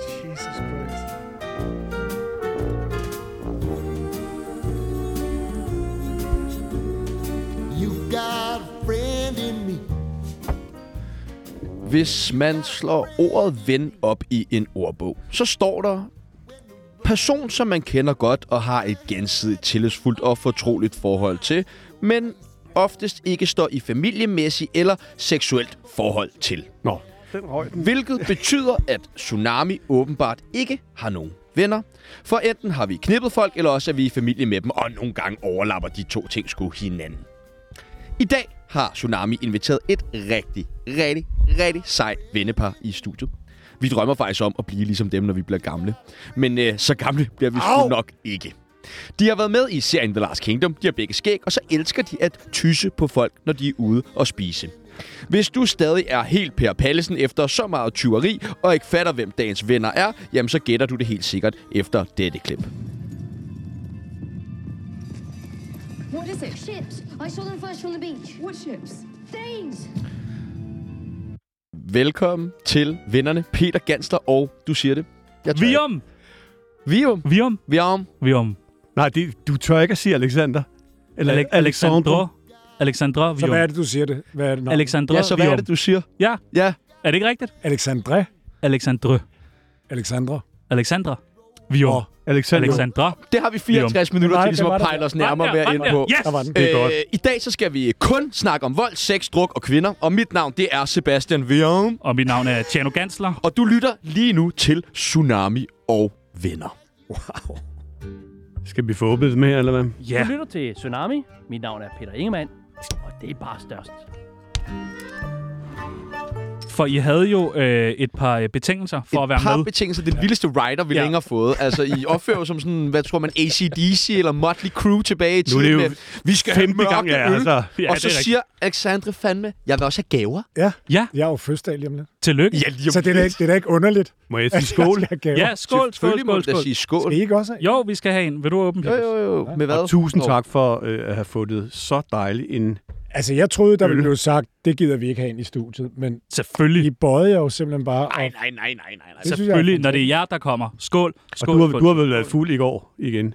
Jesus Christ. You've got a friend in me. Hvis man slår ordet ven op i en ordbog, så står der person, som man kender godt og har et gensidigt tillidsfuldt og fortroligt forhold til, men oftest ikke står i familiemæssigt eller seksuelt forhold til. Nå. Den højden. Hvilket betyder, at Tsunami åbenbart ikke har nogen venner. For enten har vi knippet folk, eller også er vi i familie med dem, og nogle gange overlapper de to ting sgu hinanden. I dag har Tsunami inviteret et rigtig, rigtig, rigtig sejt vennepar i studiet. Vi drømmer faktisk om at blive ligesom dem, når vi bliver gamle. Men øh, så gamle bliver vi sgu Au! nok ikke. De har været med i serien The Last Kingdom, de har begge skæg, og så elsker de at tysse på folk, når de er ude og spise. Hvis du stadig er helt Per Pallesen efter så meget tyveri, og ikke fatter, hvem dagens venner er, jamen så gætter du det helt sikkert efter dette klip. What is it? Ships. I saw them first from the beach. What ships? Things. Velkommen til vennerne Peter Ganster og du siger det. Jeg tør Vium! ikke. Vium. Vium! Vium. Vium. Nej, det, du tør ikke at sige Alexander. Eller Ale- Alexandra. Alexandra Så Vium. hvad er det, du siger det? Hvad er det? Nå. Alexandra Ja, så hvad Vium. er det, du siger? Ja, Ja, er det ikke rigtigt? Alexandre? Alexandre. Alexandra? Alexandra. Vium. Nå, Alexander. Alexandra. det har vi 54 minutter Nej, til ligesom det var at der. pejle os nærmere Var den hver der? ind Var den på. der? Yes! Der var den. Det er godt. Øh, I dag så skal vi kun snakke om vold, sex, druk og kvinder. Og mit navn, det er Sebastian Vium. Og mit navn er Tjano Gansler. Og du lytter lige nu til Tsunami og Venner. Skal vi få åbnet med, eller hvad? Ja. Du lytter til Tsunami. Mit navn er Peter Ingemann, og det er bare størst. For I havde jo øh, et par øh, betingelser for at Et være par med. betingelser. Det er den vildeste rider, vi ja. Ja. længere har fået. Altså, I opfører jo som sådan, hvad tror man, ACDC eller Motley Crue tilbage i Nu er det tiden. jo med, vi skal have Femte mørke gang, ja, øl. altså. Ja, og det så er rigtigt. siger Alexandre fandme, jeg vil også have gaver. Ja, Ja, jeg er jo fødselsdag lige om lidt. tillykke. Ja, lige Så det er, da ikke, det er da ikke underligt. Må jeg at sige skål? jeg skal have gaver. ja skål, skål, Selvfølgelig må skål, du da skål. sige skål. Skal I ikke også? have? Jo, vi skal have en. Vil du åbne? Jo, jo, jo. Med hvad? Og tusind Nå. tak for øh, at have fundet så dejlig en... Altså, jeg troede, der Øl. ville blive sagt, det gider vi ikke have ind i studiet, men Selvfølgelig. altså, I bøjede jeg jo simpelthen bare. Nej, nej, nej, nej, nej. nej. Det synes jeg er Selvfølgelig, når det er jer, der kommer. Skål, Og skål, du har, skål. du har vel været fuld i går igen.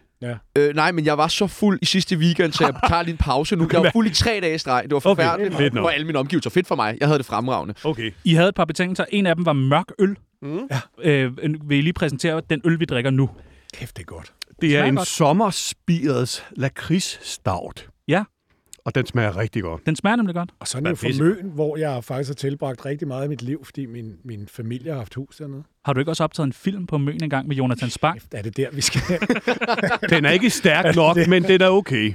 Øh, nej, men jeg var så fuld i sidste weekend, så jeg tager lige en pause nu. Jeg var fuld i tre dage i streg. Det var Okay, forfærdeligt. fedt Okay, nok. og alle mine omgivelser. Fedt for mig. Jeg havde det fremragende. Okay. I havde et par betingelser. En af dem var mørk øl. Mm. Øh, vil I lige præsentere den øl, vi drikker nu? Kæft, det er godt. Det er Smager en godt. sommerspirets lakridsstavt. Ja. Og den smager rigtig godt. Den smager nemlig godt. Og sådan er Hvad jo fra pisse. Møn, hvor jeg faktisk har tilbragt rigtig meget af mit liv, fordi min, min familie har haft hus dernede. Har du ikke også optaget en film på Møn engang med Jonathan Spang? Kæft, er det der, vi skal hen? Den er ikke stærk nok, men den er okay.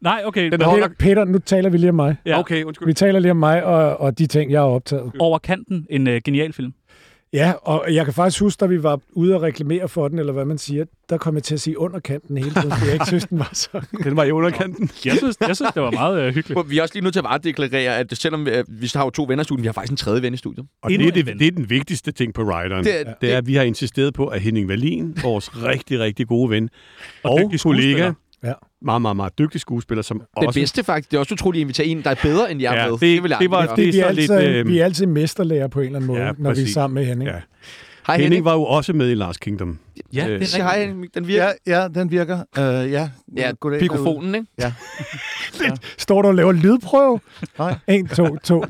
Nej, okay. Den men- holder. Peter, Peter, nu taler vi lige om mig. Ja. Okay, Vi undskyld. taler lige om mig og, og de ting, jeg har optaget. Over kanten, en øh, genial film. Ja, og jeg kan faktisk huske, da vi var ude og reklamere for den, eller hvad man siger, der kom jeg til at sige underkanten hele tiden, fordi jeg ikke synes, den var så... Den var i underkanten. Jeg synes, jeg synes det var meget øh, hyggeligt. Vi er også lige nødt til at bare deklarere, at selvom øh, vi har jo to venner i studiet, vi har faktisk en tredje ven i studiet. Og Endnu det er, det, en ven. det er den vigtigste ting på rideren. Det er- Det, det- er, det er, at vi har insisteret på, at Henning Wallin, vores rigtig, rigtig gode ven, og, dygtig kollega, skuespiller. Ja. meget, meget, meget dygtig skuespiller, som Det også... bedste faktisk. Det er også utroligt, at invitere en, der er bedre end jeg Ja, med. det- vil jeg det var- aldrig gøre. det- er vi, er så altid, lidt, øh, vi er altid mesterlærer på en eller anden måde, Ja, ja, når vi er præcis. sammen med Henning. Ja. Hej Henning Henning. var jo også med i Last Kingdom. Ja, det er Øh, rigtigt. Sig hej Henning. Den virker. Ja, ja, den virker. Uh, ja, Ja, goddag mikrofonen, ikke? Står du og laver lydprøve? Nej. En, to, to, to.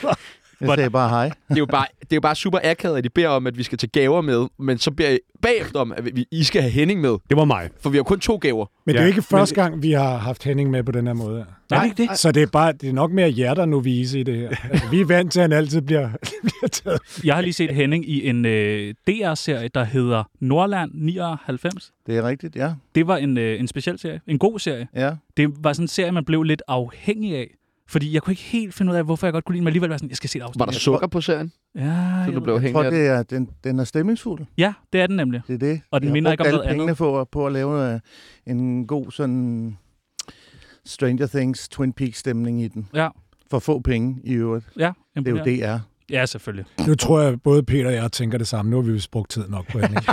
derude. Jeg sagde bare hej. Det er jo bare, det er jo bare super akavet, at de beder om, at vi skal tage gaver med, men så beder I bagefter om, at vi, I skal have Henning med, Det var mig. for vi har jo kun to gaver. Men det er jo Ja, ikke første gang, vi har haft Henning med på den her måde. Nej, det er ikke det. Så det er, bare, det er nok mere jer, der nu vise i det her. Altså, vi er vant til, at han altid bliver, bliver taget. Jeg har lige set Henning i en øh, DR-serie, der hedder Nordland 99. Det er rigtigt, ja. Det var en, øh, en speciel serie. En god serie. ja. Det var sådan en serie, man blev lidt afhængig af. Fordi jeg kunne ikke helt finde ud af, hvorfor jeg godt kunne lide den, men alligevel var sådan, jeg skal se et afsnit. Var der mere. sukker på serien, Ja, så jeg du ved- blev Jeg tror, hængende af det? det er, den, den er stemningsfuld. ja, det er den nemlig. Det er det. Og den Jeg har minder ikke om brugt alle noget andet. pengene for, på at lave øh, en god sådan Stranger Things, Twin Peaks-stemning i den. Ja. For få penge i øvrigt. Ja, Det er jo det, er. Ja, selvfølgelig. Nu tror jeg, både Peter og jeg tænker det samme. Nu har vi vist brugt tid nok på Henning.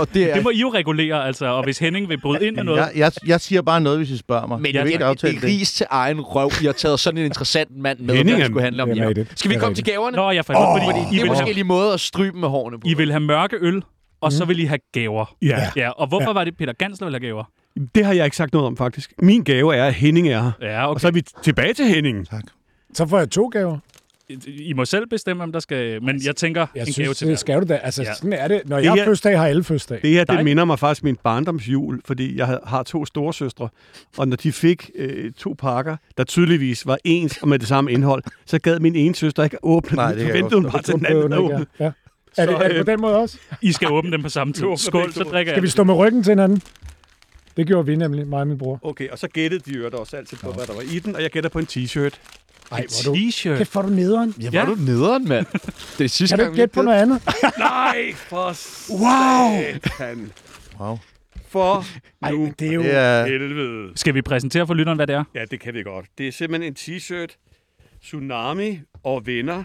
Og det er Det må I jo regulere, altså. Og hvis Henning vil bryde ind med noget, Jeg, jeg, jeg siger bare noget, hvis I spørger mig. Men jeg jeg vil ikke ikke aftale det. det. ris til egen røv. I har taget sådan en interessant mand med, Henning Henning, der er- skulle handle om det er jer. rigtigt. Skal vi Det er komme til gaverne? Nå, jeg forstår, oh, fordi, Det I er vil, forskellige måder at strybe med hårene på. I vil have mørke øl, og så ville I have gaver. Mm. Ja. Ja, og hvorfor ja. var det Peter Gans, der ville have gaver? Det har jeg ikke sagt noget om, faktisk. Min gave er, at Henning er her. Ja, Og så er vi tilbage til Henning. Så får jeg to gaver. I I må selv bestemme, om der skal... Altså, Men jeg tænker, Jeg en synes, gave til det hver. skal du da. Altså, Ja. ja. sådan er det. Når jeg har her- fødselsdag, har alle fødselsdag. Det her, Dig? det minder mig faktisk om min barndomsjul, fordi jeg havde- har to storesøstre, og når de fik øh, to pakker, der tydeligvis var ens og med det samme indhold, så gad min ene søster ikke at åbne Nej, Nej, det den, kan så jeg ventede hun godt bare til Hun den behøver anden. den ikke, åbne. ja. Ja. Er, det, Så, er det øh, på den måde også? I skal åbne dem på samme tid. åbner Skål, begge så to. drikker Skal jeg. vi stå med ryggen til hinanden? Det gjorde vi nemlig, mig og min bror. Okay, og så gættede de øvrigt også altid på, hvad der var i den, og jeg gætter på en t-shirt. Ej, hvor er du... T-shirt. Kæft, får du nederen. Ja, Ja. var du nederen, mand. Det er sidste Kan du gang, ikke gætte på noget andet? Nej, for Wow! Satan. Wow. For Ej, nu men det er jo... Det er, helvede. Skal vi præsentere for lytteren, hvad det er? Ja, det kan vi godt. Det er simpelthen en t-shirt, Tsunami og venner,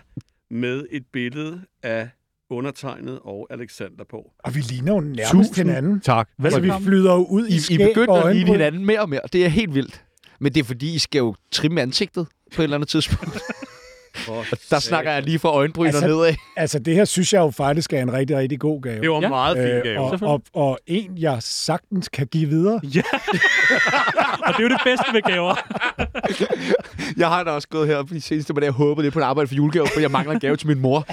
med et billede af undertegnet og Alexander på. Og vi ligner jo nærmest hinanden. tak. Altså, vi Velkommen. flyder jo ud i, I, I skæg begynder og at ligne øjenbryn. hinanden mere og mere. Det er helt vildt. Men det er fordi, I skal jo trimme ansigtet på et eller andet tidspunkt. Der snakker jeg lige fra øjenbrynene Altså- altså, nedad. Altså, det her synes jeg jo faktisk er en rigtig, rigtig god gave. Øh, Det var Ja. ja. meget fint gave. og, og, og en, jeg sagtens kan give videre. Og det er jo det bedste ved gaver. Jeg har da også gået her de seneste par dage og håbet lidt på en arbejde for julegave, for jeg mangler en gave til min mor.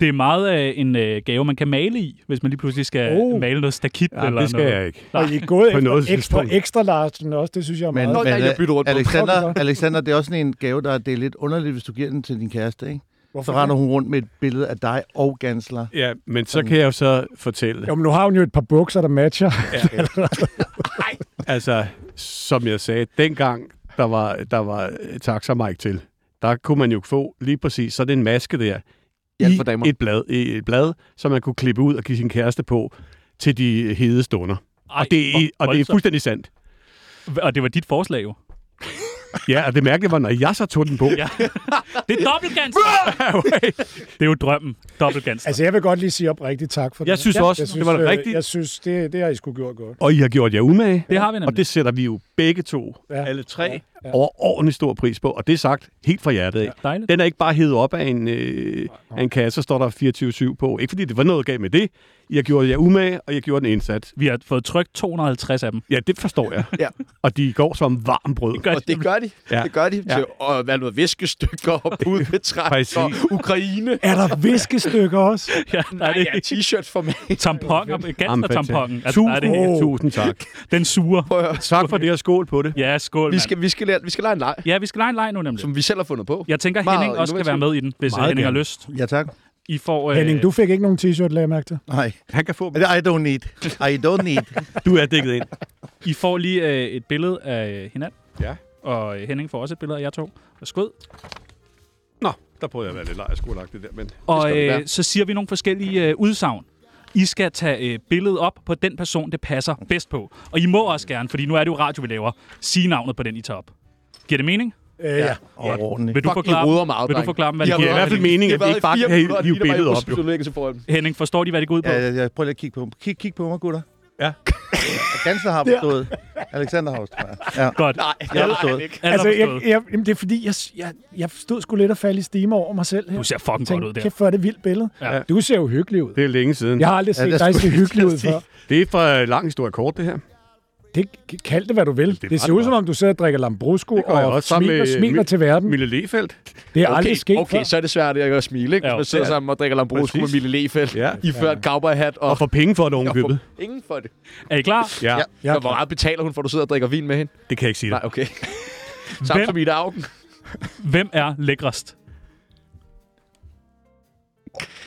Det er meget af en øh, gave, man kan male i, hvis man lige pludselig skal Oh. male noget stakit Ja, eller det skal noget. jeg ikke. Og I er gået På efter noget ekstra, tidspunkt. ekstra Larsen også, det synes jeg er men, meget. Nå, men øh, nej, jeg bytter rundt på den. Alexander, Fuck, Alexander, det er også sådan en gave, der det er lidt underligt, hvis du giver den til din kæreste, ikke? Hvorfor Så render hun rundt med et billede af dig og Gansler. Ja, men så kan jeg jo så fortælle, Jo, men nu har hun jo et par bukser, der matcher. altså, som jeg sagde, dengang der var, der var øh, Taxa Mike til, der kunne man jo få lige præcis sådan en maske der, Hjælp i for damer. et blad, i et blad, som man kunne klippe ud og give sin kæreste på til de hede stunder. Ej, og, det er, hvor og det er voldsomt. fuldstændig sandt. Og det var dit forslag jo. Ja, og det mærkelige var, når jeg så tog den på. Ja. Det er dobbeltganser! det er jo drømmen. Dobbeltganser. Altså, Altså, jeg vil godt lige sige oprigtigt tak for det. Jeg synes også, det var det øh, rigtige. Jeg synes, det, det har I sgu gjort godt. Og I har gjort jer umage. det har vi Og nemlig. det sætter vi jo begge to, Ja. ja. alle tre, ja. ja. Ja. overordentlig stor pris på. Og det er sagt helt fra hjertet af. Dejligt. Den er ikke bare hævet op af en, øh, af en kasse, så står der 24-7 på. Ikke fordi det var noget galt med det. Jeg gjorde jer umage, og jeg gjorde en indsats. Vi har fået trykt 250 af dem. Ja, det forstår jeg. Ja. Og de går som varm brød. Gør Og det gør de. Altså, Ja. Ja. Det gør de Ja. til og hvad er noget viskestykker og Præcis. pudbetræk og Ukraine. Er der viskestykker også? Ja, nej, det Ja, t-shirt for mig. Tamponer, Jamen, gansertamponen. fantastisk. Altså, nej, det er Tusind, tusind tak. den sure. Tak for det, og skål på det. Ja, skål, Vi mand. skal, vi skal, lære, vi skal lege en leg, Ja, vi skal lege en leg nu nemlig. som vi selv har fundet på. Jeg tænker, Meget Henning også kan være med i den, hvis Meget Henning har gerne. lyst. Ja, tak. I får... Øh, Henning, du fik ikke nogen t-shirt, lagde jeg mærke til. Nej, Han kan få I don't need. I don't need. Du er dækket ind. I får lige øh, et billede af hinanden. Ja. Og øh, Henning får også et billede af jer to. Og skud. Nå, der prøvede jeg at være lidt lejerskoleagtig der, men... Og vi øh, være. så siger vi nogle forskellige øh, udsagn. I skal tage øh, billedet op på den person, det passer bedst på. Og I må også gerne, fordi nu er det jo radio, vi laver, sige navnet på den, I tager op. Giver det mening? Øh, ja. Overordentligt. Vil du Fuck, I forklare, roder meget, vil du drenge. forklare dem, hvad I det har giver i været- hvert fald mening, I har at det været ikke bare i kan fire hive- minutter, hive og de, der var i billedet op, Oslo, jo. du lægger sig foran dem. Henning, forstår de, hvad det går ud på? Ja, jeg, jeg prøver lige at kigge på mig. Kig, kig på mig, gutter. Ja. Gansler har forstået. Alexander har forstået. Ja. Godt. Nej, Jeg har nej, forstået. ikke. Alle Altså, altså, jeg, jeg, jamen, det er fordi, jeg, jeg, jeg stod sgu lidt at falde i stime over mig selv. Her. Du ser fucking godt ud der. Kæft, hvor er det vildt billede. Ja. Ja. Du ser jo hyggelig ud. Det er længe siden. Jeg har aldrig Ja, set det dig skulle se jeg hyggelig til ud at sige. før. Det er fra lang historie kort, det her. Det kald det, hvad du vil. Det, var det ser det ud, som bare. om du sidder og drikker Lambrusco gør jeg og også sammen smiler, med, øh, smiler Mil- til verden. Mille Lefeldt. Det er Okay, aldrig sket okay, før. så er det svært at jeg kan smile, ikke? Ja, Ja, man sidder det er- sammen og drikker Lambrusco med Præcis. Mille Lefeldt. Ja. I før en cowboyhat og... Og for penge for det, unge købet. Ingen for det. Er I klar? Ja. Ja. Ja, Så hvor meget betaler hun for, at du sidder og drikker vin med hende? det kan jeg ikke sige Nej, dig. okay. Samt som Ida Augen. Hvem er lækrest?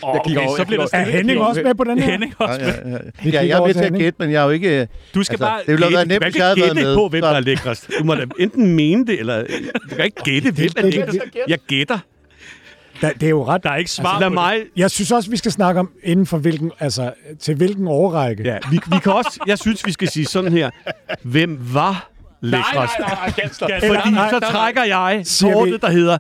Oh, kigger over, jeg kigger er Henning også med på den her? Henning også Ja, med. ja, ja. Vi ja, kigger jeg er over med til til at Henning. gætte, men jeg er jo ikke... Du skal Altså, bare... det ville have været nemt, Man hvis kan jeg havde ikke været gætte med. på, hvem Så- der er lækrest. Du må da enten mene det, eller... Du kan ikke gætte, hvem er det- lækrest. Jeg gætter. Da, det er jo ret. Der er ikke svar Lad på mig... Jeg synes også, vi skal snakke om, inden for hvilken, altså, til hvilken årrække. Ja, vi, vi kan også... Jeg synes, vi skal sige sådan her. Hvem var det. Nej, nej, lækrest? nej, nej, Gansler. Fordi Gansler. så trækker jeg Siger vi- kortet, der hedder Der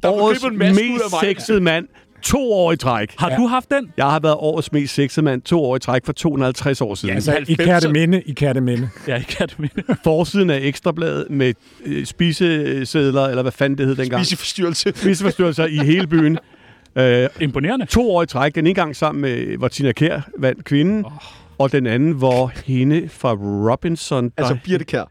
blev årets klippet en masse ud af mest mig. sexede mand to år i træk. Har du haft den? Jeg har været årets mest sexede mand to år i træk for 250 år siden. Altså, i 90'erne. Kærteminde, i Kærteminde. Ja, ikke kan det mene. Forsiden af Ekstrabladet med øh, spisesedler, eller hvad fanden det hed dengang. Vise forstyrrelse. Spiseforstyrrelser i hele byen. Øh, Imponerende. to år i træk. Den ene gang sammen med, hvor Tina Kær vandt kvinden, oh. og den anden, hvor hende fra Robinson... der- Altså, Birte Kær.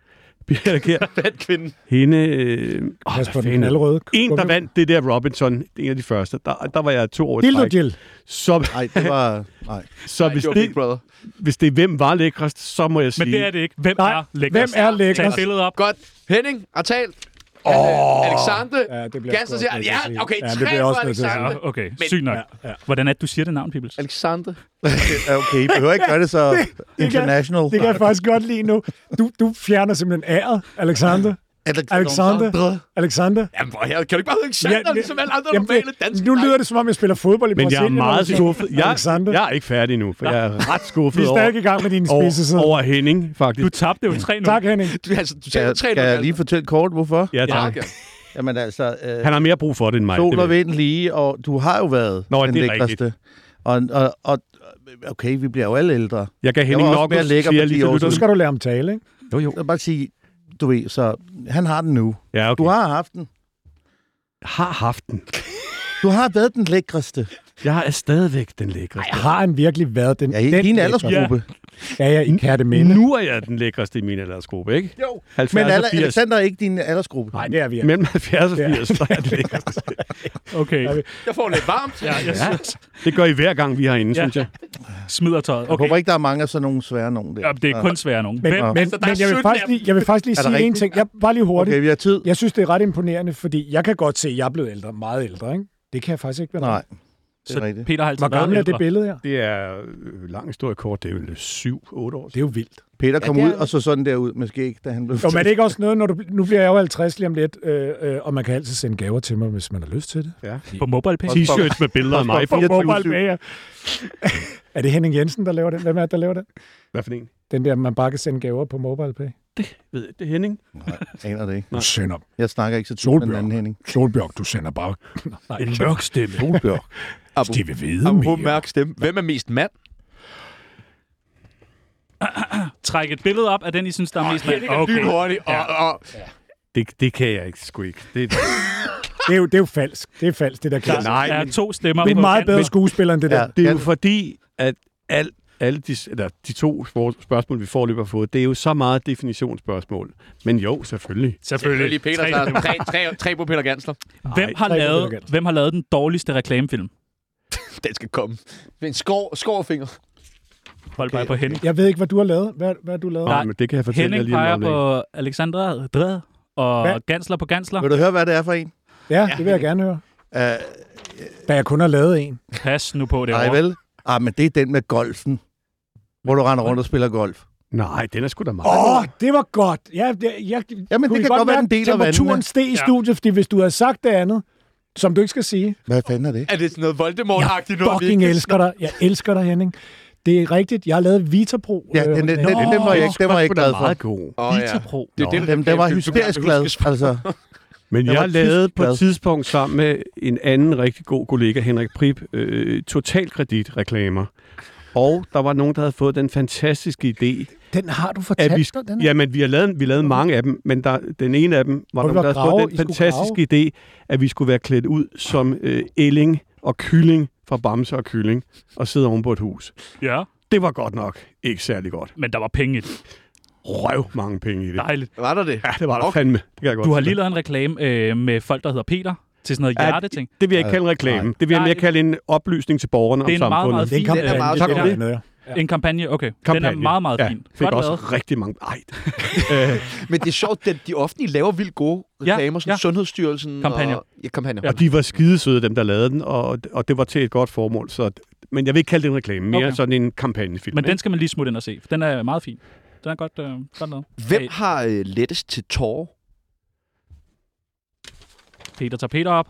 Birte Kær. Fandt kvinden. Hende... Øh, åh, Pas hvad på den fanden? allerøde. En, der vandt det der Robinson, en af de første, der, der var jeg to år i Dildo træk. Jill. Så, Nej, det var... Nej. så hvis, det var Big det, Brother. hvis det er, hvem var lækrest, så må jeg sige... Men det er det ikke. Hvem Nej, er lækkerst? hvem er Tag et lækkerst? billede op. Godt. Henning har talt. Oh. Alexander. Ja, det bliver Gasser sgu siger, også nødt til at ja, sige. okay, Ja, det tre bliver jeg også for nødt til at sige. Alexander. Ja, okay, sygt nok. Ja, ja. Hvordan er det, du siger det navn, Pibels? Alexander. Ja, Okay, I behøver ikke gøre det så international. Det kan jeg faktisk godt lide nu. Du, du fjerner simpelthen æret, Alexander. Alexander. Alexander. Jamen, hvor her, kan du ikke bare hedde Alexander, Ja, ja, ligesom alle andre Jamen, normale det- danske Nu drenge? lyder det, som om jeg spiller fodbold i Men jeg er Brasilien. meget eller sådan skuffet. noget. Jeg, Alexander. jeg er ikke færdig nu, for jeg er ret Vi skuffet er stadig i gang med dine over, spidsesider. over, over Henning, faktisk. Du tabte jo 3 nu. Tak, Henning. Du, altså, du taler Skal, tre skal jeg lige fortælle kort, hvorfor? Ja, Ja, tak. okay. Jamen altså, øh, Han har mere brug for det end mig. sol det og ved jeg. vind lige, og du har jo været Nå, den det er lækreste. Og, og, og, okay, vi bliver jo alle ældre. Jeg gav Jeg Henning var også nok, mere lækker siger jeg for lige 10 til år Nu lytterne. skal du lære om tale, ikke? Jo, jo. Jeg vil bare sige, du ved, så han har den nu. Ja, okay. Du har haft den. har haft den. Du har været den lækreste. Jeg er stadigvæk den lækreste. Har han virkelig været den? Ja, i den din lækker? aldersgruppe. Ja, ja, i Katteminde. Nu er jeg den lækreste i min aldersgruppe, ikke? Jo. 70 Men Men alder, 80. Alexander er ikke din aldersgruppe. Nej, det er vi. Mellem 70 og 80, så er jeg den lækreste. Okay. Jeg får lidt varmt. ja, ja. Ja. Det gør I hver gang, vi er herinde, Ja. synes jeg. Smider tøjet. Jeg håber Okay. ikke, der er mange af sådan nogle svære nogen der. Jamen, det er kun svære nogen. Men, Hvem? men, Altså, der er men jeg, vil 17 faktisk af dem. lige, jeg vil faktisk lige Er der sige en rigtigt? ting. Jeg, bare lige hurtigt. Okay, vi har tid. Jeg synes, det er ret imponerende, fordi jeg kan godt se, at jeg er blevet ældre. Meget ældre, ikke? Det kan jeg faktisk ikke være. Nej, det Så er rigtigt. Peter har altid Hvor gammel været er det ældre. billede her? Det er øh, lang historie kort. Det er vel 7-8 år Det er jo vildt. Peter kom det er ud det. og så sådan der ud med skæg, da han blev... Jo, men er det ikke også noget, når du, nu bliver jeg jo 50 lige om lidt, øh, øh, og man kan altid sende gaver til mig, hvis man har lyst til det. På MobilePay. T-shirts med billeder af mig. For- for- Mobile Bager. er det Henning Jensen, der laver den? Hvem er det, der laver den? Hvad for en? Den der, man bare kan sende gaver på MobilePay. Ved jeg, det er Henning. Nej, aner det ikke. Du sender, Jeg snakker ikke så tit med den Solbjørn. anden Henning. Solbjørg, du sender bare... Nej, En mørk stemme. Solbjørg. Abo, vil vide abo, mærk stemme. Hvem er mest mand? Træk et billede op af den, I synes, der er mest mand. Okay. Okay. Lynhurtigt. Og, og, Det, det kan jeg ikke sgu ikke. Det, Det er jo, det er jo falsk. Det er falsk, det der kan. Nej, Der er men- to stemmer Det er på meget kanten. bedre skuespiller end det der. Ja. det er jo fordi, at al, alle de, eller de to spor- spørgsmål, vi forløber har fået, det er jo så meget definitionsspørgsmål. Men jo, selvfølgelig. Selvfølgelig, Selvfølgelig. Peter Tre tager stemmer. tre, tre, tre på Peter Gansler. Hvem har, tre lavet, billeder, Gert. hvem har lavet den dårligste reklamefilm? Den skal komme. Med en skår, skårfinger. Hold bare på Henning. Jeg ved ikke, hvad du har lavet. Hvad, hvad har du lavet? Nå, Nej, men det kan jeg fortælle jer Henning lige peger om lidt. på Alexandra Dred og Hvad? Gansler på Gansler. Vil du høre, hvad det er for en? Ja, det vil jeg gerne høre. Uh, Da jeg kun har lavet en. Pas nu på det nej, over. vel? Ah, men det er den med golfen. Hvor du render rundt og spiller golf. Nej, den er sgu da meget. Åh, oh, det var godt. Ja, det, jeg, Jamen, det kan godt være en del af Temperaturen vandene. steg i studiet, fordi hvis du havde sagt det andet, som du ikke skal sige. Hvad fanden er det? Er det sådan noget Voldemort-agtigt noget? vi Fucking ikke- elsker dig. Jeg elsker dig, Henning. Det er rigtigt. Jeg har lavet Vitapro. øh, Ja, den, den, den, den, den var jeg ikke, den var jeg ikke glad for. meget god. Åh, ja. Vitapro. Det er det, Den, den var hysterisk glad. Altså, Men Jeg jeg, var lavede tysk på glad. et tidspunkt sammen med en anden rigtig god kollega, Henrik Prip, øh, totalkreditreklamer. Og der var nogen, der havde fået den fantastiske idé, Den har du at fortalt vi, dig, den her. jamen, vi, har lavet, vi lavede mange af dem, men der, den ene af dem var Hvor nogen, vi der var havde grave, fået I den skulle fantastiske idé, at vi skulle være klædt ud som øh, elling og kylling fra Bamse og Kylling og sidde oven på et hus. Ja, Det var godt nok ikke særlig godt. men der var penge i det. Røv mange penge i det. Dejligt. Var der det? Ja, det var der fandme. Det kan jeg godt Du har sige. lige lavet en reklame øh, med folk, der hedder Peter, til sådan noget Ja, hjerteting. Det vil jeg ikke kalde en reklame. Det vil jeg Nej, mere det- kalde en oplysning til borgerne Det er om en meget, samfundet. meget fin Den øh, er meget den fin. er Det- med. en kampagne. Okay, den er meget, meget ja, fin. Fik Godt også lavet. rigtig mange. Nej, Men det er sjovt, at de offentlige laver vildt gode reklamer, som ja. Sundhedsstyrelsen Kampagner. og... Ja, kampagner. og de var skidesøde, dem der lavede den, og, og det var til et godt formål. Så, men jeg vil ikke kalde det en reklame, mere Okay. okay. sådan en kampagnefilm. Men den ikke? skal man lige smutte ind og se, for den er meget fin. Den er godt, øh, godt lavet. Hvem har øh, lettest til tårer? Peter tager Peter op.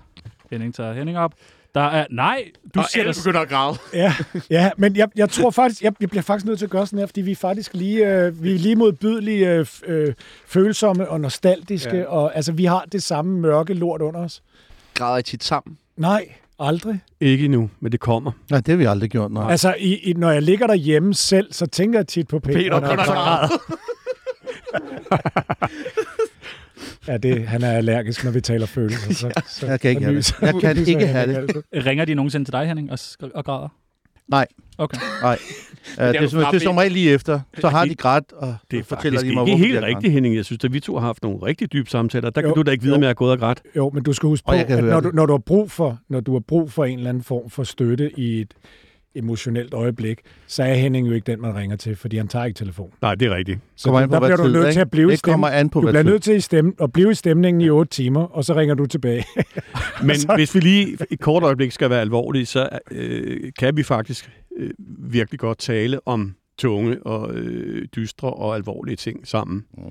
Henning tager Henning op. Der er... Nej, du og siger alle det. begynder at græde. Ja, ja, men jeg, jeg tror faktisk, jeg, jeg bliver faktisk nødt til at gøre sådan her, fordi vi er faktisk lige, øh, vi er lige modbydelige, øh, f- øh, følsomme og nostalgiske, ja. Ja. og altså, vi har det samme mørke lort under os. Græder I tit sammen? Nej, aldrig. Ikke endnu, men det kommer. nej, det har vi aldrig gjort, nej. Altså, i, i, når jeg ligger derhjemme selv, så tænker jeg tit på Peter. Peter når jeg begynder at kommer. græde. Ja, det, han er allergisk, når vi taler følelser. Så, så, Jeg kan ikke så have det. nyser- Jeg kan nyser ikke han have det. altid. Ringer de nogensinde til dig, Henning, og, sk- og græder? Nej. Okay. Nej. Uh, det, jo er som, det er frabedt. som regel lige efter. Så har de grædt, og Det er så fortæller faktisk de mig, ikke hvorfor de helt har rigtigt, Henning. Jeg synes, at vi to har haft nogle rigtig dybe samtaler. Der kan Jo. du da ikke vide, Jo. om jeg er gået og grædt. Jo, men du skal huske på, Og jeg kan at høre når du, det. når, du har brug for, når du har brug for en eller anden form for støtte i et emotionelt øjeblik, så er Henning jo ikke den, man ringer til, fordi han tager ikke telefonen. Nej, det er rigtigt. Så Kommer an på, der hvad bliver du tid, nødt ikke? til at blive i Det kommer stemmen. an på, Du hvad bliver tid. nødt til i stemme, at blive i stemningen i 8 timer, og så ringer du tilbage. Men hvis vi lige et kort øjeblik skal være alvorlige, så øh, kan vi faktisk øh, virkelig godt tale om tunge og øh, dystre og alvorlige ting sammen. Mm.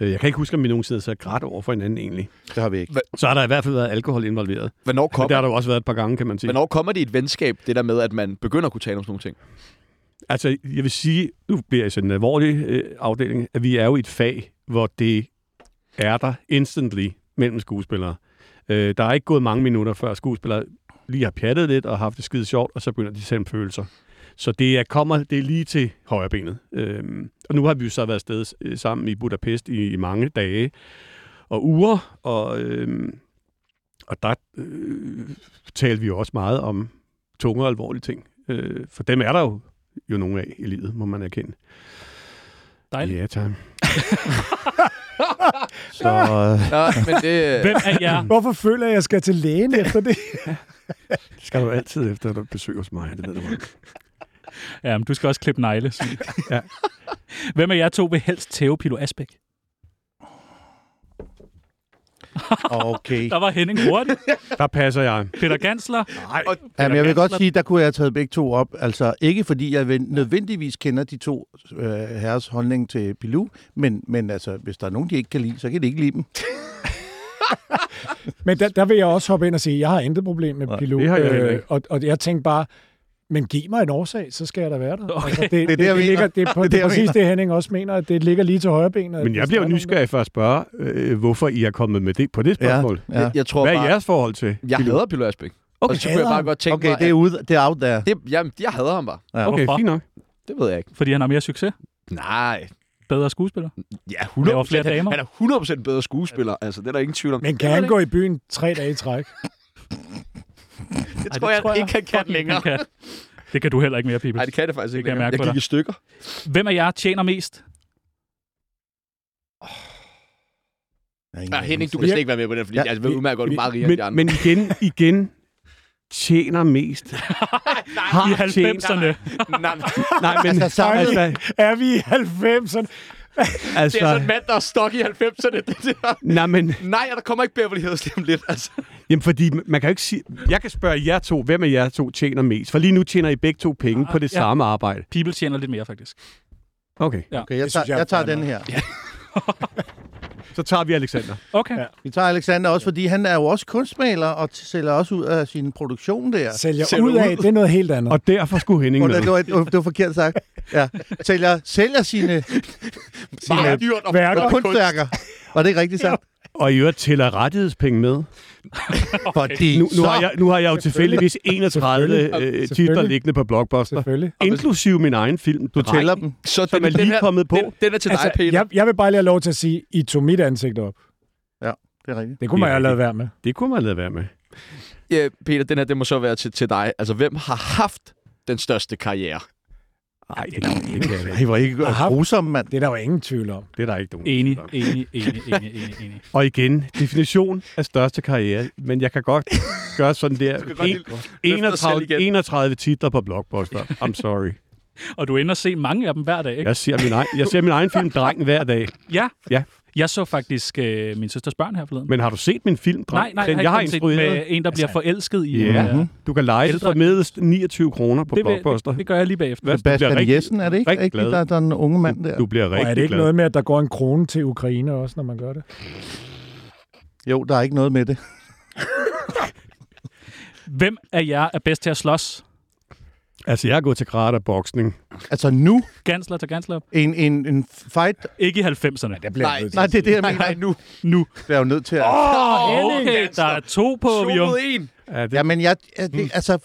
Jeg kan ikke huske, om vi nogensinde har sat grædt over for hinanden egentlig. Det har vi ikke. Så har der i hvert fald været alkohol involveret. Hvornår Og der kommer, har der jo også været et par gange, kan man sige. hvornår kommer det i et venskab, det der med, at man begynder at kunne tale om sådan nogle ting? Altså, jeg vil sige, nu bliver jeg sådan en alvorlig øh, afdeling, at vi er jo i et fag, hvor det er der instantly mellem skuespillere. Øh, der er ikke gået mange minutter, før skuespillere lige har pjattet lidt og haft det skide sjovt, og så begynder de at sende følelser. Så det er, kommer det er lige til højre benet. Øhm, og nu har vi jo så været afsted øh, sammen i Budapest i, i mange dage og uger, og, øhm, og der øh, talte vi jo også meget om tunge og alvorlige ting. Øh, for dem er der jo jo nogen af i livet, må man erkende. Dejligt. Ja, tak. så øh, Nå, men det... Hvem af jer? Hvorfor føler jeg, at jeg skal til lægen efter det? det skal du altid efter, at du besøger hos mig. Det ved du godt. Ja, men du skal også klippe negle. Sune. Ja. Hvem af jer to vil helst tæve Pilo Asbæk? Okay. Der var Henning hurtigt. Der passer jeg. Peter Gansler. Jamen, jeg vil godt Gansler. sige, der kunne jeg have taget begge to op. Altså, ikke fordi jeg ven- nødvendigvis kender de to øh, herres holdning til Pilou, men, men altså, hvis der er nogen, de ikke kan lide, så kan de ikke lide dem. Men der, der vil jeg også hoppe ind og sige, at jeg har intet problem med pilot. øh, det har jeg heller ikke. og, og jeg tænkte bare, men giv mig en årsag, så skal jeg da være der. Altså, Okay. det, det, det, jeg det, mener. ligger, det, er på, Det er det, det, det er jeg præcis mener. det, Henning også mener, at det ligger lige til højre benet. Men jeg bliver jo nysgerrig for at spørge, øh, hvorfor I er kommet med det på det spørgsmål. Ja. ja. Jeg, jeg tror Hvad er bare, jeres forhold til? jeg hader Pilo Asbæk. Okay, og så kunne jeg hader bare ham. godt tænke Okay, mig, det er, at ude, det er out there. det, jamen, jeg hader ham bare. Okay, Hvorfor? fint nok. Det ved jeg ikke. Fordi han har mere succes. Nej. Bedre skuespiller. Ja, 100%. Laver flere damer. Han er 100% bedre skuespiller. Altså, det er der ingen tvivl om. Men kan han gå i byen tre dage i træk? det tror jeg, ikke, han kan fucking længere. ikke, han kan. Det kan du heller ikke mere, Pibels. Nej, det kan det faktisk ikke kan længere. jeg mærke Jeg på gik dig. i stykker. Hvem af jer tjener mest? Jeg har ingen Ja, Ah, Henning, du kan anelse. slet ikke være med på den, fordi Ja, ja, altså, vi udmærker godt, du er meget rigere end de Men, andre. men igen, igen, tjener mest. har I tjent- 90'erne. Nej, nej. Nej, men altså, Altså, samlet- altså, Er vi i 90'erne? Det er sådan en altså, mand, der er stok i 90'erne. Det, det er, nej, men, nej, og der kommer ikke Beverly Hills lige om lidt. Altså. jamen, fordi man kan jo ikke sige, jeg kan spørge jer to, hvem af jer to tjener mest? For lige nu tjener I begge to penge på det Ja. samme arbejde. People tjener lidt mere, faktisk. Okay, Okay, jeg Det tager, synes jeg er jeg tager fair den her. så tager vi Alexander. Okay. Ja. Vi tager Alexander også, fordi han er jo også kunstmaler og t- sælger også ud af sin produktion der. Sælger Sælger ud af, ud. det er noget helt andet. Og derfor skulle Henning Og med. det, det, var, det var- det var forkert sagt. Ja. Sælger, sælger sine, Meget dyrt og værker. flot kunstværker. Var det ikke rigtigt sagt? Og i øvrigt tæller rettighedspenge med. Nu, Fordi nu, så- har jeg, nu har jeg jo tilfældigvis 31 Selvfølgelig. øh, titler Selvfølgelig. liggende på Blockbuster. Selvfølgelig. Inklusiv min egen film. Du tæller dem. Så Som er lige kommet på. Den, den er til Altså, dig, Peter. jeg, jeg vil bare lige have lov til at sige, I tog mit ansigt op. Det er rigtigt. Det kunne man Det er jo have lavet være med. Det kunne man lade være med. Ja, Peter, den her, det må så være til, til dig. Altså, hvem har haft den største karriere? Nej, det, det, kan jeg Ej, ikke. hvor ikke Aha. grusom, mand. Det er der jo ingen tvivl om. det er der ikke nogen. Enig, tvivl om. enig, enig, enig, enig, enig. Og igen, definition af største karriere. Men jeg kan godt gøre sådan der. godt En, lige løfte dig selv 31, igen. 31 titler på Blockbuster. I'm sorry. Og du ender at se mange af dem hver dag, ikke? Jeg ser min egen, jeg ser min egen film Drengen hver dag. Ja. Ja. Jeg så faktisk øh, min søsters børn her forleden. Men har du set min film nej, Drengen? nej, Den, jeg har ikke set med instrueret. en, der bliver Altså- forelsket i. Ja, Mhm. øh, du kan lege Ældre- for medest 29 kroner på det, Blockbuster. vil, det gør jeg lige bagefter. Hvad? Du bliver Bastian rigtig- Jessen, er det ikke? rigtig Rigtig glad. der, er- der er en unge mand der. Du bliver Og rigtig er det ikke glad. noget med, at der går en krone til Ukraine også, når man gør det? Jo, der er ikke noget med det. Hvem af jer er bedst til at slås? Altså, jeg er gået til karate og boksning. Altså nu, Gansler til gansler. en, en, en fight. Ikke i 90'erne. Der bliver Nej. jeg nødt til Nej, at det er det, jeg Nej, mener. nej, nu. Nu. Jeg er jo nødt til at... Oh! Okay, der er to på, To Vium. mod en. Ja, Mm. det, Mm-hmm. Jamen, jeg, jeg, det, altså,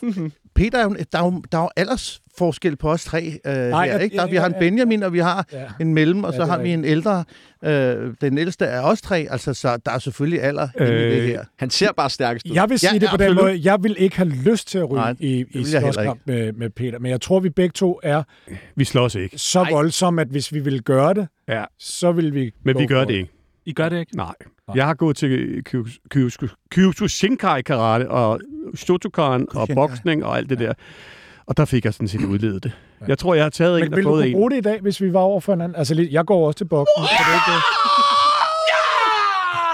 Peter, er jo- der er jo, der er jo aldersforskel på os tre øh, Nej, her, jeg- ikke? Der, vi har en jeg- Benjamin, og vi har Ja. en mellem, og Ja, så det er har vi en ældre. Øh, den ældste af os tre, altså, så der er selvfølgelig alder øh, i det Øh, her. Han ser bare stærkest ud. Jeg vil sige Ja, ja, det på den absolut. måde. Jeg vil ikke have lyst til at ryge Nej, Nej, i, vil i jeg heller slåskamp med, med Peter. Men jeg tror, vi begge to er Vi slås ikke. så Ej. voldsomme, at hvis vi ville gøre det, Ja. så ville vi Men gå vi gør for det ikke. I gør det ikke? Nej. Jeg har gået til Kyus- Kyus- Kyokushinkai karate og Shotokan og Kushinkai. boksning og alt det der. Og der fik jeg sådan set udledet det. Jeg tror, jeg har taget en Men og ville du fået kunne en. bruge det i dag, hvis vi var over for hinanden? Altså, lidt- jeg går også til boksen. så det er ikke,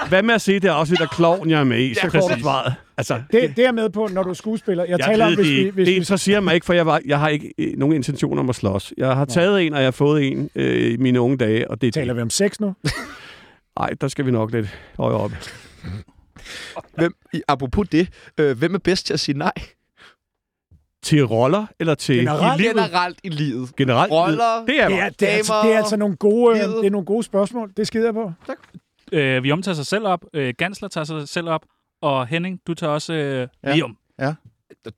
øh, Hvad med at se det afsnit af klovn, jeg er med i? Så præcis. får du svaret. Altså, Det, det er jeg med på, når du er skuespiller. Jeg, jeg taler om, ved hvis det vi... ikke. Hvis Det vi interesserer mig ikke, for jeg, var, jeg har ikke øh, nogen intention om at slås. Jeg har taget en, og jeg har fået en øh, i mine unge dage. Og det, taler vi om sex nu? Nej, der skal vi nok lidt højere op. Hvem, i- apropos det, øh, hvem er bedst til at sige nej? Til roller eller til... Generelt. I livet? Generelt i livet. Generelt. Roller. Det er Det jeg. er, det, er, altså, Damer, det er altså nogle gode, øh, livet. det er nogle gode spørgsmål. Det skider jeg på. Øh, vi omtager sig selv op. Øh, Gansler tager sig selv op. Og Henning, du tager også øh, Ja. ja. Lium.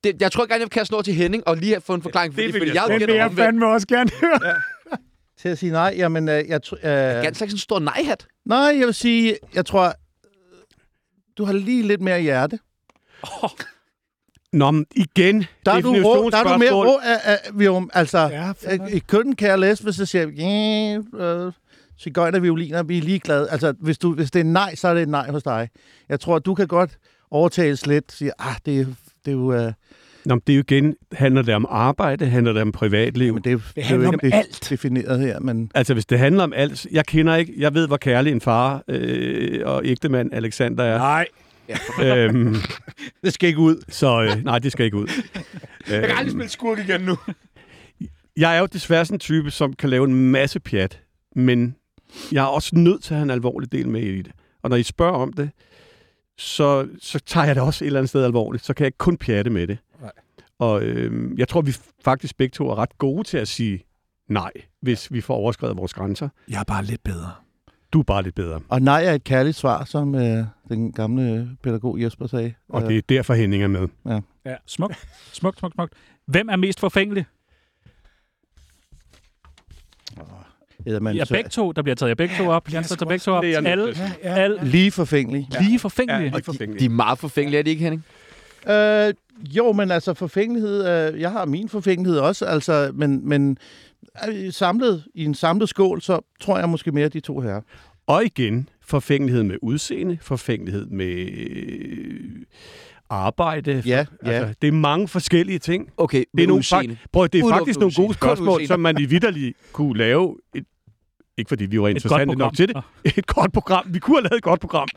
Det, jeg tror gerne, jeg kan snå til Henning og lige have- få en forklaring for Det det, vil fordi jeg jeg, sgu. jeg, Den jeg, vil jeg jeg, jeg, fandme også gerne høre. Til at sige nej, jamen, øh, jeg... tr- jeg, Øh, jeg, en stor nej-hat. nej, jeg vil sige, jeg tror, du har lige lidt mere hjerte. Nå, men igen. Der er, du, rå, der er du mere definitionsspørgsmål. rå af, af Vium. Altså, Ja, øh, fandme. i kønnen kan jeg læse, hvis jeg siger, yeah, øh, cigøjner, violiner, vi er ligeglade. Altså, hvis, du, hvis det er nej, så er det et nej hos dig. Jeg tror, du kan godt overtales lidt, sige, ah, det, er- det er jo... Øh, Nå, men det er jo igen, handler det om arbejde, handler det om privatliv? men det, er- det, er handler jo om ikke de- alt. defineret her, men... Altså, hvis det handler om alt... Jeg kender ikke... Jeg ved, hvor kærlig en far øh, og ægtemand Alexander er. Nej. Øhm, Det skal ikke ud. så øh, nej, det skal ikke ud. Øhm, Jeg kan aldrig spille skurk igen nu. Jeg er jo desværre sådan en type, som kan lave en masse pjat, men jeg er også nødt til at have en alvorlig del med i det. Og når I spørger om det, så, så tager jeg det også et eller andet sted alvorligt. Så kan jeg ikke kun pjatte med det. Nej. Og øh, jeg tror, vi faktisk begge to er ret gode til at sige nej, hvis vi får overskrevet vores grænser. Jeg er bare lidt bedre. Du er bare lidt bedre. Og nej er et kærligt svar, som øh, den gamle øh, pædagog Jesper sagde. Og Øh, det er derfor, Henning er med. Smukt, smukt, smukt, smukt. Hvem er mest forfængelig? eller man, Jeg er så- begge to, der bliver taget jeg begge to op. Gansler tager begge to op. Det er jeg nødt Alle, til. alle øh, Lige forfængelig. lige forfængelige. De er meget forfængelige, er de ikke, Henning? Øh, jo, men altså forfængelighed, øh, jeg har min forfængelighed også, altså, men, men øh, samlet, i en samlet skål, så tror jeg måske mere de to her. Og igen, forfængelighed med udseende, forfængelighed med øh, arbejde. Ja, ja. Altså, det er mange forskellige ting. Det Okay, er, nogle, udseende. fak- prøv, at- det er Udelukkende faktisk nogle gode udseende. Kun spørgsmål, udseende. som man i vidderlig kunne lave. Et, ikke fordi vi var interessante program. nok til det. Et godt program. Vi kunne have lavet et godt program.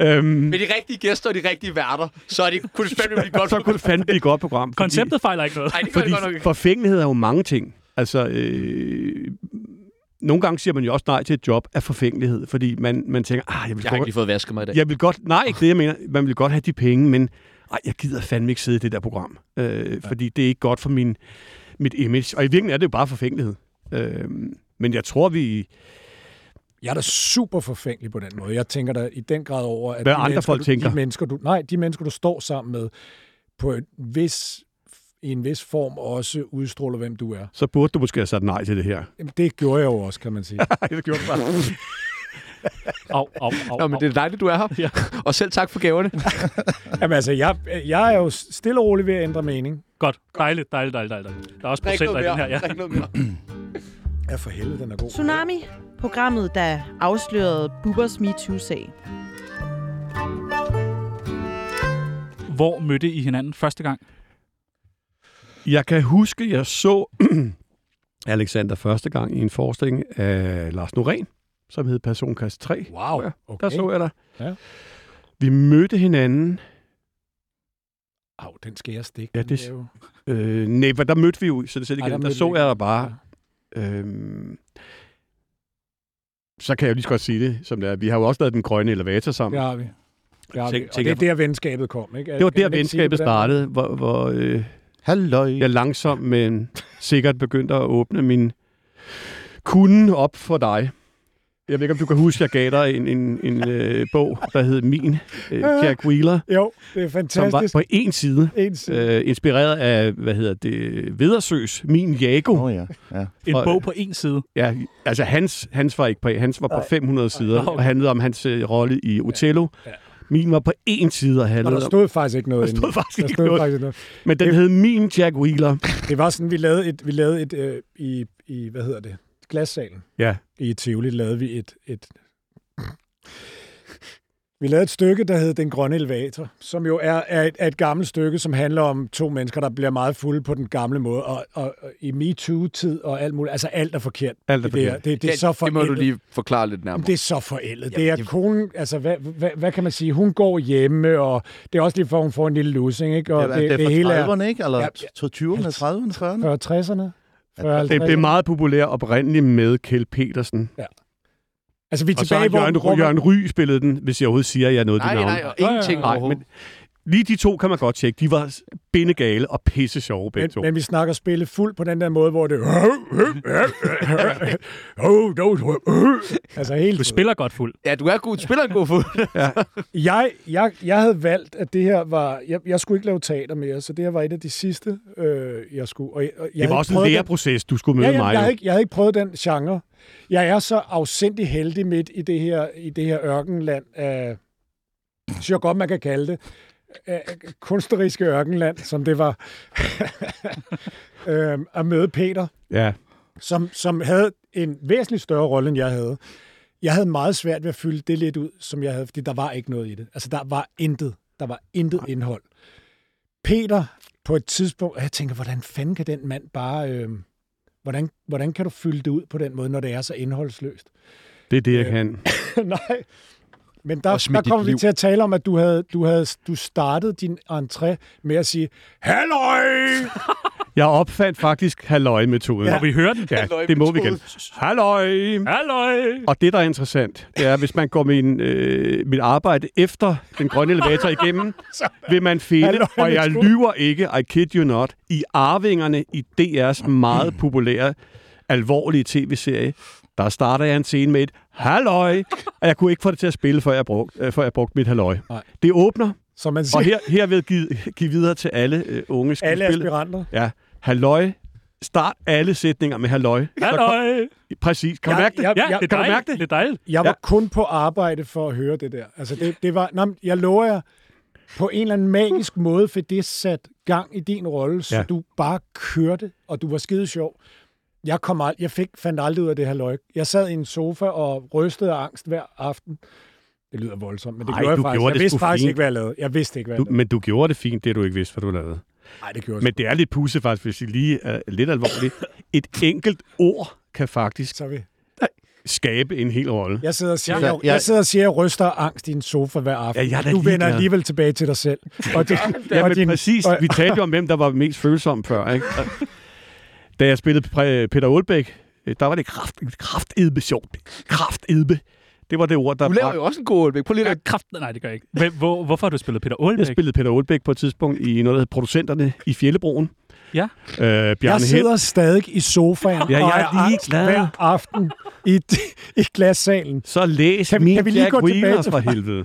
Øhm, Med de rigtige gæster og de rigtige værter, så er det, kunne det fandme blive godt. så kunne det fandme blive et godt program. fordi- Konceptet fejler ikke noget. Nej, det gør det Fordi godt nok ikke. forfængelighed er jo mange ting. Altså, øh, nogle gange siger man jo også nej til et job af forfængelighed, fordi man, man tænker, ah, jeg vil Jeg har godt- ikke lige fået vasket mig i dag. Jeg vil godt, nej, ikke det, jeg mener. Man vil godt have de penge, men ej, jeg gider fandme ikke sidde i det der program. Øh, ja. Fordi det er ikke godt for min, mit image. Og i virkeligheden er det jo bare forfængelighed. Øh, men jeg tror, vi... Jeg er da super forfængelig på den måde. Jeg tænker da i den grad over, at Hvad de andre mennesker, folk du, tænker. De mennesker, du, nej, de mennesker, du står sammen med, på en vis, i en vis form også udstråler, hvem du er. Så burde du måske have sagt nej til det her. Jamen, det gjorde jeg jo også, kan man sige. Nej, det gjorde bare. Au, au, au, Nå, au. men det er dejligt, du er her. Ja. Og selv tak for gaverne. Jamen altså, jeg, jeg er jo stille og rolig ved at ændre mening. Godt. Dejligt, dejligt, dejligt, dejligt. Der er også procenter i den her. Ja. Drik noget mere. Ja, for helvede, den er god. Tsunami, programmet, der afslørede Bubbers MeToo-sag. Hvor mødte I hinanden første gang? Jeg kan huske, jeg så Alexander første gang i en forestilling af Lars Norén, som hed Personkasse 3. Wow, Ja, okay. Der så jeg dig. Ja. Vi mødte hinanden. Au, den skal jeg stikke. Ja, Den det- er jo... Øh, nej, for der mødte vi jo, så det selv Ej, igen. der Der, der mødte så vi jeg ikke. dig bare. Øhm, så kan jeg jo lige så godt sige det, som det er. Vi har jo også lavet den grønne elevator sammen. Det Ja. har vi. Det, har Tænk- vi. Og tænker det er der, venskabet kom, ikke? Det var Kan der, man ikke sige venskabet det på den måde? startede, hvor, hvor øh, Halløj. jeg langsomt, men sikkert begyndte at åbne min kunden op for dig. Jeg ved ikke, om du kan huske, jeg gav dig en, en, en øh, bog, der hed Min, øh, Jack Wheeler, Jo, det er som var fantastisk. på én side. En side. Øh, inspireret af, hvad hedder det, Vedersøs, Min Jago. Åh oh, ja. ja. En Og- bog på en side. Ja, altså hans, hans var ikke på, hans var på 500 sider, Nå, okay. og handlede om hans øh, rolle i Othello. Min var på én side og Og handlede der om... stod faktisk ikke noget. Der stod inde i. faktisk der ikke stod noget. Faktisk noget. Men den hed Min Jack Wheeler. Det var sådan, vi lavede et, vi lavede et øh, i, i, hvad hedder det, glassalen Ja, i Tivoli, lavede vi et, et vi lavede et stykke, der hed Den Grønne Elevator, som jo er, er, et, er et gammelt stykke, som handler om to mennesker, der bliver meget fulde på den gamle måde, og, og, og i MeToo-tid og alt muligt. Altså alt er forkert. Alt er i det, her. forkert. Det, det, er så det, det må du forældet. lige forklare lidt nærmere. Jamen, det er så forældet. Jamen, det er, at det- konen, altså, hvad, hvad, hvad kan man sige? Hun går hjemme, og det er også lige for, at hun får en lille lussing, ikke? Og Det, det, det, er hele er fra 30'erne, ikke? Eller Ja, ja, ja. 20'erne, 30'erne, 40'erne? 40 60'erne. 40 det 50'erne. blev meget populær oprindeligt med Kjell Petersen. Altså, vi er Og så har tilbage, hvor, Jørgen, hvor hvor, man- Jørgen Ry spillet den, hvis jeg overhovedet siger, at jeg er noget af nej, det navn. nej, og ingenting Nej, overhovedet. men lige de to kan man godt tjekke. De var bindegale og pisse sjove begge men, to. men vi snakker spille fuld på den der måde, hvor det... Oh, don't- altså helt Du spiller godt fuld. Ja, du er god, spiller en god fod. Jeg, jeg, jeg havde valgt, at det her var... Jeg, jeg skulle ikke lave teater mere, så det her var et af de sidste, øh, jeg skulle... Og jeg, og jeg det havde var også en prøvet den- læreproces, du skulle møde ja, ja, mig. Jeg havde, jo. ikke, jeg havde ikke prøvet den genre. Jeg er så afsindig heldig midt i det her, i det her ørkenland af, synes jeg godt, man kan kalde det, af kunstneriske ørkenland, som det var, øhm, at møde Peter, Ja, som, som havde en væsentlig større rolle, end jeg havde. Jeg havde meget svært ved at fylde det lidt ud, som jeg havde, fordi der var ikke noget i det. Altså, der var intet. Der var intet indhold. Peter, på et tidspunkt, og jeg tænker, hvordan fanden kan den mand bare... Øh, hvordan, hvordan kan du fylde det ud på den måde, når det er så indholdsløst? det er det, jeg Øh, kan. Nej. Men Og der, smid der dit kommer vi liv. til at tale om, at du havde, du havde du startede din entré med at sige, Halløj! Jeg opfandt faktisk halløj-metoden. Og vi hører den. Ja, det må vi igen. Halløj! Halløj! Og det, der er interessant, det er, hvis man går min, øh, mit arbejde efter den grønne elevator igennem, vil man finde, Halløj, og jeg metode. lyver ikke, I kid you not, i Arvingerne i DR's meget populære, alvorlige tv-serie, der starter jeg en scene med et halløj, og jeg kunne ikke få det til at spille, før jeg brugte, øh, før jeg brugte mit halløj. Nej. Det åbner, Som man og siger, her, her vil jeg give, give videre til alle øh, unge alle skuespillere. aspiranter. Ja, halløj. Start alle sætninger med halløj. Så Halløj! Kom, præcis. Kan du Jeg- mærke det? jeg- Ja, Ja, det er kan du dejligt. mærke det? Det er dejligt. Jeg var Ja. ja. kun på arbejde for at høre det der. Altså, det, det var... Nå, men jeg lover jer, på en eller anden magisk måde fik det sat gang i din rolle, så Ja. ja. du bare kørte, og du var skide sjov. Jeg, kom ald- jeg fik, fandt aldrig ud af det her løg. Jeg sad i en sofa og rystede af angst hver aften. Det lyder voldsomt, men det Ej, gjorde jeg du faktisk. gjorde jeg det vidste sgu faktisk fint. ikke, hvad jeg lavede. Jeg vidste ikke, hvad jeg Du, lavede. men du gjorde det fint, det du ikke vidste, hvad du lavede. Nej, det gjorde jeg Men det er lidt pusse faktisk, hvis jeg lige er lidt alvorligt. Et enkelt ord kan sgu- faktisk så vi. skabe en hel rolle. Jeg sidder og siger, Ja. jeg, jeg, Ja. jeg sidder og siger, jeg ryster af angst i en sofa hver aften. Ja, jeg er da du vender ligeglad. alligevel tilbage til dig selv. Og det, Ja, og men præcis. og- Vi talte jo om, hvem der var mest følsom før. Ikke? Og Da jeg spillede præ- Peter Olbæk, øh, der var det kraft, kraftedbe sjovt. Kraftedbe. Det var det ord, der Du laver jo også en god Aalbæk. Prøv lige Ja, at... kraft... Nej, det gør jeg ikke. Hvem, hvor, hvorfor har du spillet Peter Jeg Aalbæk? spillede Peter Olbæk på et tidspunkt i noget, der hed Producenterne i Fjellebroen. Ja. Øh, Jeg Bjarne Held. sidder stadig i sofaen Ja, jeg og er lige angst glad. hver aften i, i glassalen. Så læs Kan- min kan vi lige Jack gå tilbage Wheeler til- for helvede.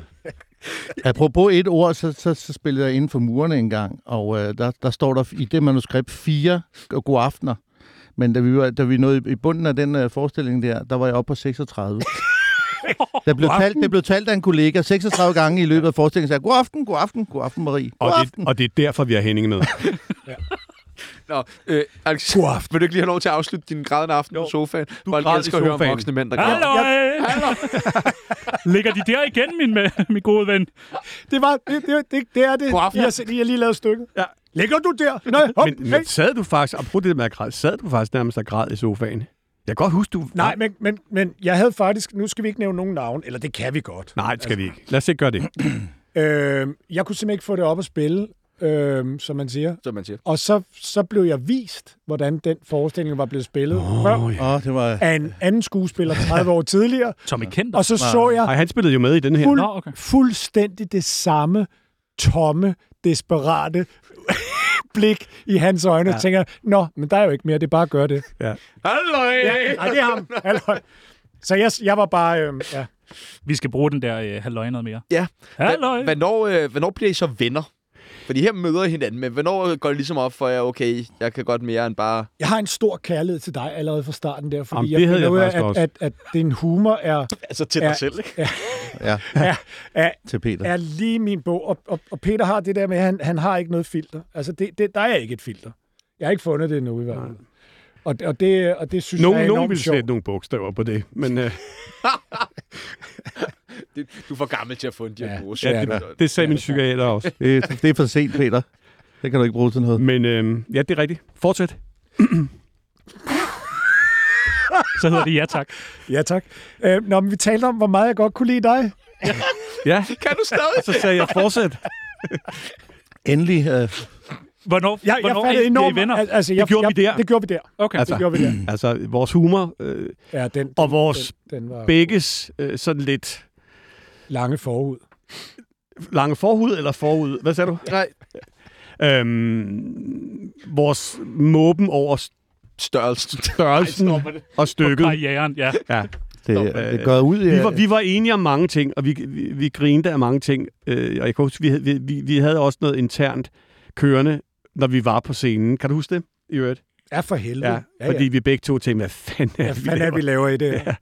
Apropos et ord, så, så, så spillede jeg inden for murene en gang, og øh, der, der står der i det manuskript fire gode aftener. Men da vi, var, da vi nåede i- i bunden af den øh, forestilling der, der var jeg oppe på 36. Der blev talt, det blev talt af en kollega 36 gange i løbet af forestillingen, sagde, god aften, god aften, god aften Marie, Og god det, aften. og det er derfor, vi har Henning med. Nå, øh, Alex, God aften. vil du ikke lige have lov til at afslutte din grædende aften Jo. på sofaen? Du græd i elsker at høre om sofaen. voksne mænd, der græder. Halløj! Ligger de der igen, min, med, min gode ven? Det, var, det, det, det, det er det. God aften. Jeg, har, set- I har lige lavet stykket. Ja. Ligger du der? Nej, hop, Men, hey. men sad du faktisk, apropos det med at græde, sad du faktisk nærmest og græd i sofaen? Jeg kan godt huske, du... Nej men, men, men jeg havde faktisk... Nu skal vi ikke nævne nogen navn, eller det kan vi godt. Nej, det skal Altså- vi ikke. Lad os ikke gøre det. Øh, jeg kunne simpelthen ikke få det op at spille, øh, som man siger. Som man siger. Og så, så blev jeg vist, hvordan den forestilling var blevet spillet oh, før, Åh, ja. Åh, det var... af en anden skuespiller 30 år tidligere. Tommy Kenter. Og så så jeg Ej, han spillede jo med i den her. fuld, Nå, okay. fuldstændig det samme tomme, desperate blik i hans øjne, ja. og tænker, nå, men der er jo ikke mere, det er bare at gøre det. Ja. Halløj! Nej, det er ham. Halløj. Altså, Så jeg, jeg var bare... Øh, ja. Vi skal bruge den der øh, halvøj noget mere. Ja. Halvøj! Hvornår, øh, hvornår bliver I så venner? Fordi her møder I hinanden, men hvornår går det ligesom op for jer, okay, jeg kan godt mere end bare... Jeg har en stor kærlighed til dig allerede fra starten der, fordi Jamen, Jamen, det jeg havde finder jeg ud af, faktisk at, også. at, at din humor er, Altså til dig Ja. selv, ikke? Ja, er, er, til Peter. er lige min bog. Og, og, og Peter har det der med, at han, han har ikke noget filter. Altså, det, det, der er ikke et filter. Jeg har ikke fundet det endnu i hvert fald. Og, og, det, og det synes jeg er Nogen, nogen enormt vil sjovt. sætte nogle bogstaver på det, men øh, Du er for gammel til at få en diagnose. Ja, ja, det sagde min psykiater også. Det, det er for sent, Peter. Det kan du ikke bruge til noget. Men øh, ja, det er rigtigt. Fortsæt. Så hedder det ja tak. Ja, tak. Øh, nå, men vi talte om, hvor meget jeg godt kunne lide dig. Ja, Kan du stadig så sagde jeg fortsæt. Endelig. Øh, Hvornår, Jeg, jeg hvornår fattede er I enormt... enormt, venner? al- Altså, jeg, gjorde jeg, vi der. Det gjorde vi der. Okay. Det Altså, gjorde vi der. altså vores humor øh, Ja, den, og vores den, den var begges øh, sådan lidt lange forud. lange forhud eller forud. Hvad sagde du? Nej. Øhm, vores måben over Størrelsen. størrelsen og stykket. Barrieren, ja. Ja. det, det går ud i... øh, Vi, var, vi var enige om mange ting, og vi, vi, vi grinte af mange ting. Øh, og jeg kan huske, vi, havde- vi- vi, vi havde også noget internt kørende, når vi var på scenen. Kan du huske det, i øvrigt? Ja, for helvede. Ja, ja, fordi vi begge to tænkte, hvad fanden er, Hvad det, vi fanden er det, laver? vi laver i det her?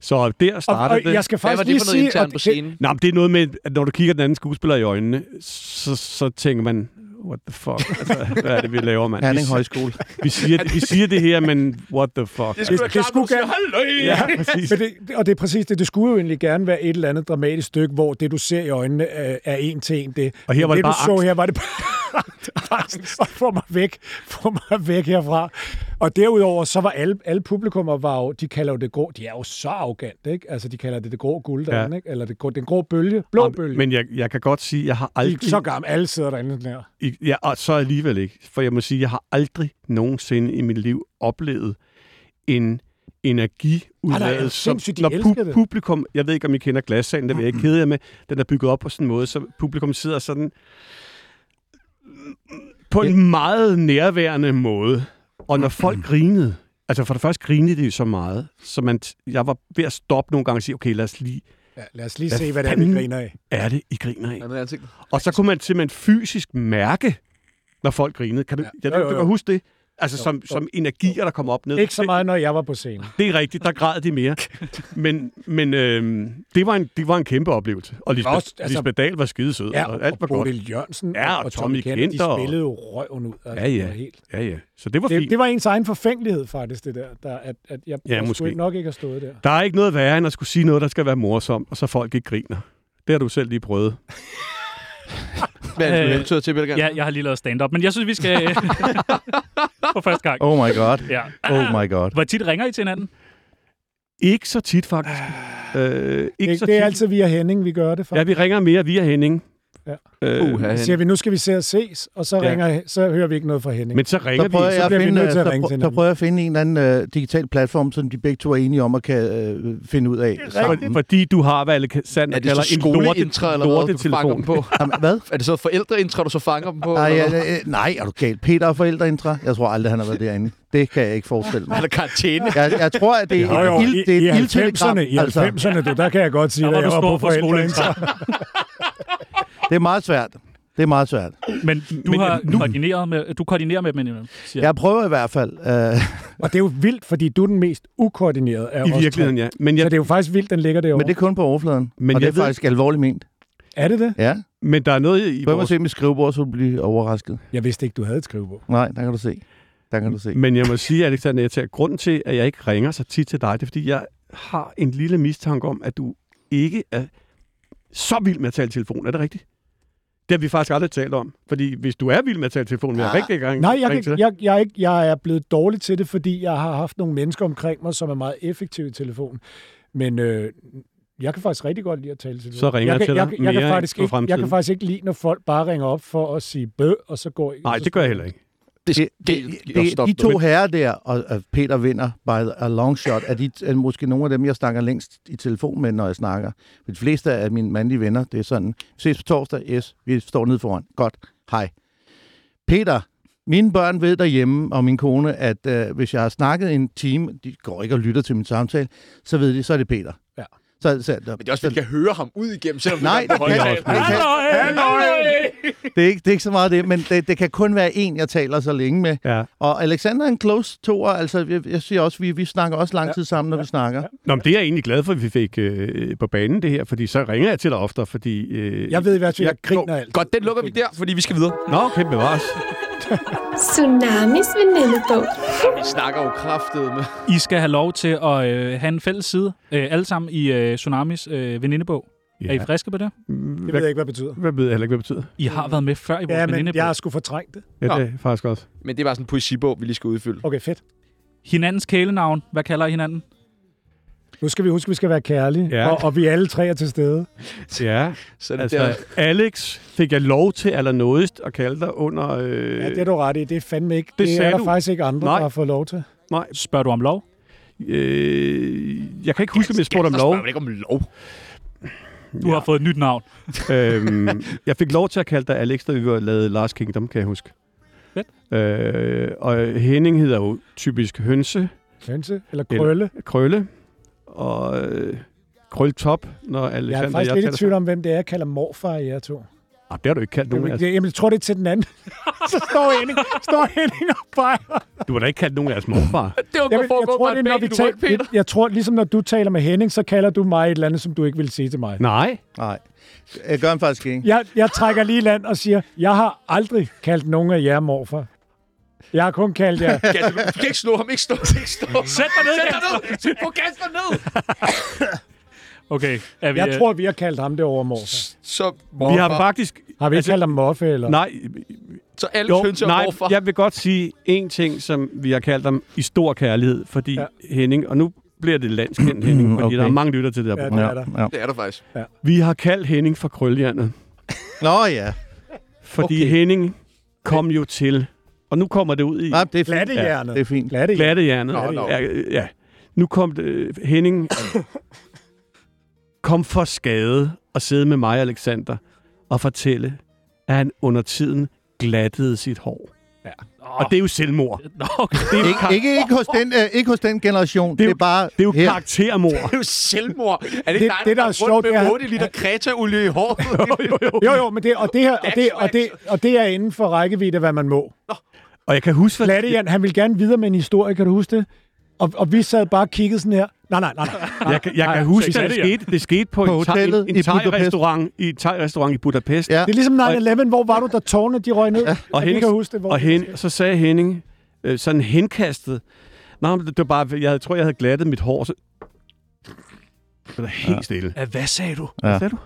Så der Og, startede og det. jeg skal Hvad faktisk var det lige for noget sige, internt og på det- scenen? Nå, men det er noget med, at når du kigger den anden skuespiller i øjnene, så, så tænker man, what the fuck? Altså, hvad er det, vi laver, mand? Vi, Herning Højskole. vi, siger, vi siger det her, men what the fuck? skulle være det klart, skulle du siger, gerne- Ja. ja, præcis. Men det, og det er præcis det. Det skulle jo egentlig gerne være et eller andet dramatisk stykke, hvor det, du ser i øjnene, øh, er, er en til en det. Og her var det du bare så angst. her, var det bare angst. Og få mig væk. Få mig væk herfra. Og derudover, så var alle, alle publikummer, var jo, de kalder jo det grå, de er jo så arrogante, ikke? Altså, de kalder det det grå guld Ja. derinde, ikke? Eller det, grå- den grå bølge, blå bølge. Men, Men jeg, jeg kan godt sige, at jeg har de er aldrig... så gamle, alle sidder derinde sådan her. I- Ja, og så alligevel ikke. For jeg må sige, jeg har aldrig nogensinde i mit liv oplevet en Ej, Ah, nej, energiudladet, sindssygt, de når elsker det. publikum... Jeg ved ikke, om I kender glassagen, det vil jeg ikke kede jer med. Den er bygget op på sådan en måde, så publikum sidder sådan mm, på en meget nærværende måde. Og når folk grinede, altså for det første grinede de jo så meget, så man, t- jeg var ved at stoppe nogle gange og sige, okay, lad os lige, Ja, lad os lige Hvad se, hvad det er, vi fanden? griner af. er det, I griner af? Hvad med ansigtet? Og så kunne man simpelthen fysisk mærke, når folk grinede. Kan du, Ja. ja. Jo, jeg, du, jo, du jo. kan huske det? Altså som, som energier, der kom op ned. Ikke så meget, når jeg var på scenen. Det, det er rigtigt, der græd de mere. Men, men øhm, det, var en, det var en kæmpe oplevelse. Og Lisbeth, Også, også, altså- altså, Lisbeth Dahl var skidesød, Ja, ja, og alt var og godt. Bodil Jørgensen Ja, og Tommy Kenter De og- spillede jo røven ud. Altså, Ja, ja. det var Helt. Ja, ja. Så det var Det, fint. det var ens egen forfængelighed faktisk, det der. der at, at jeg, Ja, jeg måske. skulle nok ikke have stået der. Der er ikke noget værre, end at skulle sige noget, der skal være morsomt, og så folk ikke griner. Det har du selv lige prøvet. Hvad er det, du Øh, hentyder til, Peter Gang? Ja, jeg har lige lavet stand-up, men jeg synes, vi skal... for første gang. Oh my god. Ja. Oh my god. Hvor tit ringer I til hinanden? Ikke så tit, faktisk. Øh, ikke Det, så det tit. er altid via Henning, vi gør det Ja, faktisk. vi ringer mere via Henning. Ja. Øh, Uha, Ja, Henning. siger vi, nu skal vi se at ses, og så, Ja. ringer, så hører vi ikke noget fra Henning. men så ringer Så prøver, vi. jeg at bliver vi finde, nødt til at så, ringe prø- til så hinanden. prøver jeg at finde en eller anden uh, digital platform, som de begge to er enige om at kan øh, finde ud af For, sammen. fordi du har, hvad Alexander Er det kalder så en skoleintra, lorte, eller hvad, du fanger dem lortetelefon. på? Jamen, hvad? Er det så forældreintra, du så fanger dem på? Nej, eller ja, hvad? ja, nej, er du galt? Peter er forældreintra. Jeg tror aldrig, han har været derinde. Det kan jeg ikke forestille mig. Eller karantæne? Jeg, jeg tror, at det er Jo, jo, i, et, ild, det er i et Altså. ildtelegram. 90'erne, i 90'erne, du, der kan jeg godt sige, Der at var jeg du var stor på for forældreintra. det er meget svært. Det er meget svært. Men du Men, har øh, nu- koordineret med, du koordinerer med dem indimellem, siger Jeg prøver i hvert fald. Øh, Og det er jo vildt, fordi du er den mest ukoordinerede af os. I virkeligheden, ja. Men, tre. Så jeg, det er jo faktisk vildt, den ligger derovre. men det er kun på overfladen. Men Men og det jeg er ved- faktisk alvorligt ment. Er det det? Ja. men der er noget i Prøv at vores... se mit skrivebord, så du bliver overrasket. Jeg vidste ikke, du havde et skrivebord. Nej, der kan du se. Der kan du se. Men jeg må sige, Alexander, jeg tager grunden til, at jeg ikke ringer så tit til dig, det er, fordi jeg har en lille mistanke om, at du ikke er så vild med at tale i telefon. Er det rigtigt? Det har vi faktisk aldrig talt om. Fordi hvis du er vild med at tale i telefon, vil jeg rigtig gerne Ah. Nej, jeg, ringe kan, til dig. jeg, jeg, er ikke, jeg er blevet dårlig til det, fordi jeg har haft nogle mennesker omkring mig, som er meget effektive i telefonen. Men øh, jeg kan faktisk rigtig godt lide at tale i telefonen. Så ringer jeg kan, til dig jeg, jeg, mere kan i- faktisk på ikke, jeg kan fremtiden. faktisk ikke lide, når folk bare ringer op for at sige bø, og så går Nej, det gør jeg heller ikke. Det, Det, det, det, det, de to herrer der, og, og Peter vinder by a long shot, er, de, er måske nogle af dem, jeg snakker længst i telefon med, når jeg snakker. Men de fleste af mine mandlige venner, det er sådan, ses på torsdag, yes, vi står nede foran, godt, hej. Peter, Mine børn ved derhjemme, og min kone, at øh, hvis jeg har snakket en time, de går ikke og lytter til min samtale, så ved de, så er det Peter. Ja. Så, så, der, Men det er også, at vi kan høre ham ud igennem, selvom Nej, det er på det kan højtaler. jeg også. det, er ikke, det er ikke så meget det, men det, det kan kun være en, jeg taler så længe med. Ja. Og Alexander er en close toer, altså jeg, jeg siger også, vi, vi snakker også lang tid sammen, når vi snakker. Nå, men det er jeg egentlig glad for, at vi fik øh, på banen det her, fordi så ringer jeg til dig oftere, fordi... Øh, Jeg ved i hvert fald, at jeg griner Nå, alt. Godt, den lukker vi der, fordi vi skal videre. Nå, kæmpe bevares. Tsunamis venindebog. Vi snakker jo kraftet med. I skal have lov til at øh, have en fælles side, øh, alle sammen i øh, Tsunamis øh, venindebog. Ja. Er I friske på det? Det ved jeg ikke, hvad det betyder. Mm, Hvad ved jeg heller ikke, hvad det betyder. I har været med før i vores Ja, men venindebog. jeg har sgu fortrængt det. Ja, Nå. det er faktisk også. Men det var sådan en poesibog, vi lige skal udfylde. Okay, fedt. Hinandens kælenavn. Hvad kalder I hinanden? Nu skal vi huske, at vi skal være kærlige, Ja. ja. og, og vi alle tre er til stede. Ja, Så er det altså, der. altså Alex fik jeg lov til allernådigst at kalde dig under... Øh, Ja, det er du ret i. Det er fandme ikke. det Det, det sagde er der du. faktisk ikke andre, Nej. Nej. der har fået lov til. Spørger du om lov? øh, jeg kan ikke huske, om jeg spurgte om lov. Jeg ikke om lov. Du ja. har fået et nyt navn. øhm, jeg fik lov til at kalde dig Alex, da vi var lavet Last Kingdom, kan jeg huske. Fedt. Øh, og Henning hedder jo typisk hønse, Hønse eller Eller- krølle. krølle og øh, krøltop, når Jeg er Alexander faktisk og lidt taler i tvivl om, hvem det er, jeg kalder morfar i jer to. sammen. Ah, det har du ikke kaldt nogen af Jamen, os. jeg, jamen, jeg tror, det er til den anden. så står Henning, står Henning og peger. Du har da ikke kaldt nogen af os morfar. Det var Jamen, jeg tror, det er, når vi taler, jeg tror, ligesom når du taler med Henning, så kalder du mig et eller andet, som du ikke vil sige til mig. Nej. Nej, jeg gør han faktisk ikke. Jeg, jeg trækker lige i land og siger, jeg har aldrig kaldt nogen af jer morfar. Jeg har kun kaldt jer... Du kan ikke slå ham, ikke slå ham, ikke slå ham. Sæt dig ned, Sæt dig Kasper! ned! Få Kasper ned! Okay, er vi, Jeg øh, tror, vi har kaldt ham det over morfar. Så, Vi morfar. har faktisk... Har vi ikke Altså- kaldt ham Moffe, eller? Nej, Så alle jo, hønser og nej, morfar. jeg vil godt sige en ting, som vi har kaldt dem i stor kærlighed, fordi ja. Ja. Henning, og nu bliver det landskendt Henning, fordi okay. Okay. der er mange lytter til det her Ja, program. det Ja. er der. Ja. Det er der faktisk. Vi har kaldt Henning for krøljernet. Nå ja, Fordi okay. Okay. Henning kom jo til, og nu kommer det ud i Nej, det er fint. Glattehjernet. Det er fint. Glattehjernet. glattehjernet. Nå, nå. Ja, øh, ja. Nu kom det, øh, Henning kom for skade at sidde med mig og Alexander og fortælle, at han under tiden glattede sit hår. Ja. Og det er jo selvmord. Nå, okay. Det er jo, Ikke, ikke, ikke, hos den, øh, ikke hos den generation. er Det er, jo- det er bare det er jo her. karaktermord. Det er jo selvmord. Er Det- det, dig, det, der er går rundt sjovt, det med er- 8 liter kretaolie i håret? Jo, jo, men det, og, det her, og, det, og, det, og det er inden for rækkevidde, af, hvad man må. Og jeg kan huske, hvad Glattehjern, han ville gerne videre med en historie, kan du huske det? Og, og vi sad bare og kiggede sådan her. Nej, nej, nej. nej. Jeg kan, jeg Nej, kan nej, huske, så at er det det jer. skete, det skete på, På en, hotellet thai, en, i en Budapest. thai-restaurant i, thai restaurant i Budapest. Ja. Det er ligesom 9-11, hvor var du, da tårne de røg ned? og, jeg Henning, kan huske det. Hvor og hen, så sagde Henning, øh, sådan henkastet, Nå, men det det var bare, jeg havde- tror, jeg havde glattet mit hår. Så... Det var helt ja. stille. Ja, Hvad sagde du? Hvad sagde du?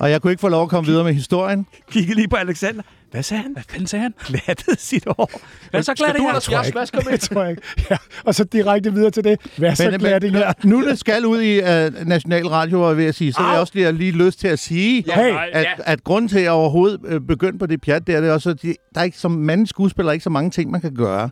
Og jeg kunne ikke få lov at komme videre med historien. Kiggede lige på Alexander. Hvad sagde han? Hvad fanden sagde han? Glattede sit hår. Hvad så glad Skal det du her? ellers jeres masker med? det tror jeg ikke. Ja, og så direkte videre til det. Hvad så Men, glat det her? men nu det skal ud i uh, National Radio, var jeg ved at sige, så vil jeg også lige have lige lyst til at sige, Ja, Hey, nej, at, ja. at grunden til, at jeg overhovedet øh, begyndte på det pjat, det er det også, at de, der er ikke, som mandens skuespiller er ikke så mange ting, man kan gøre.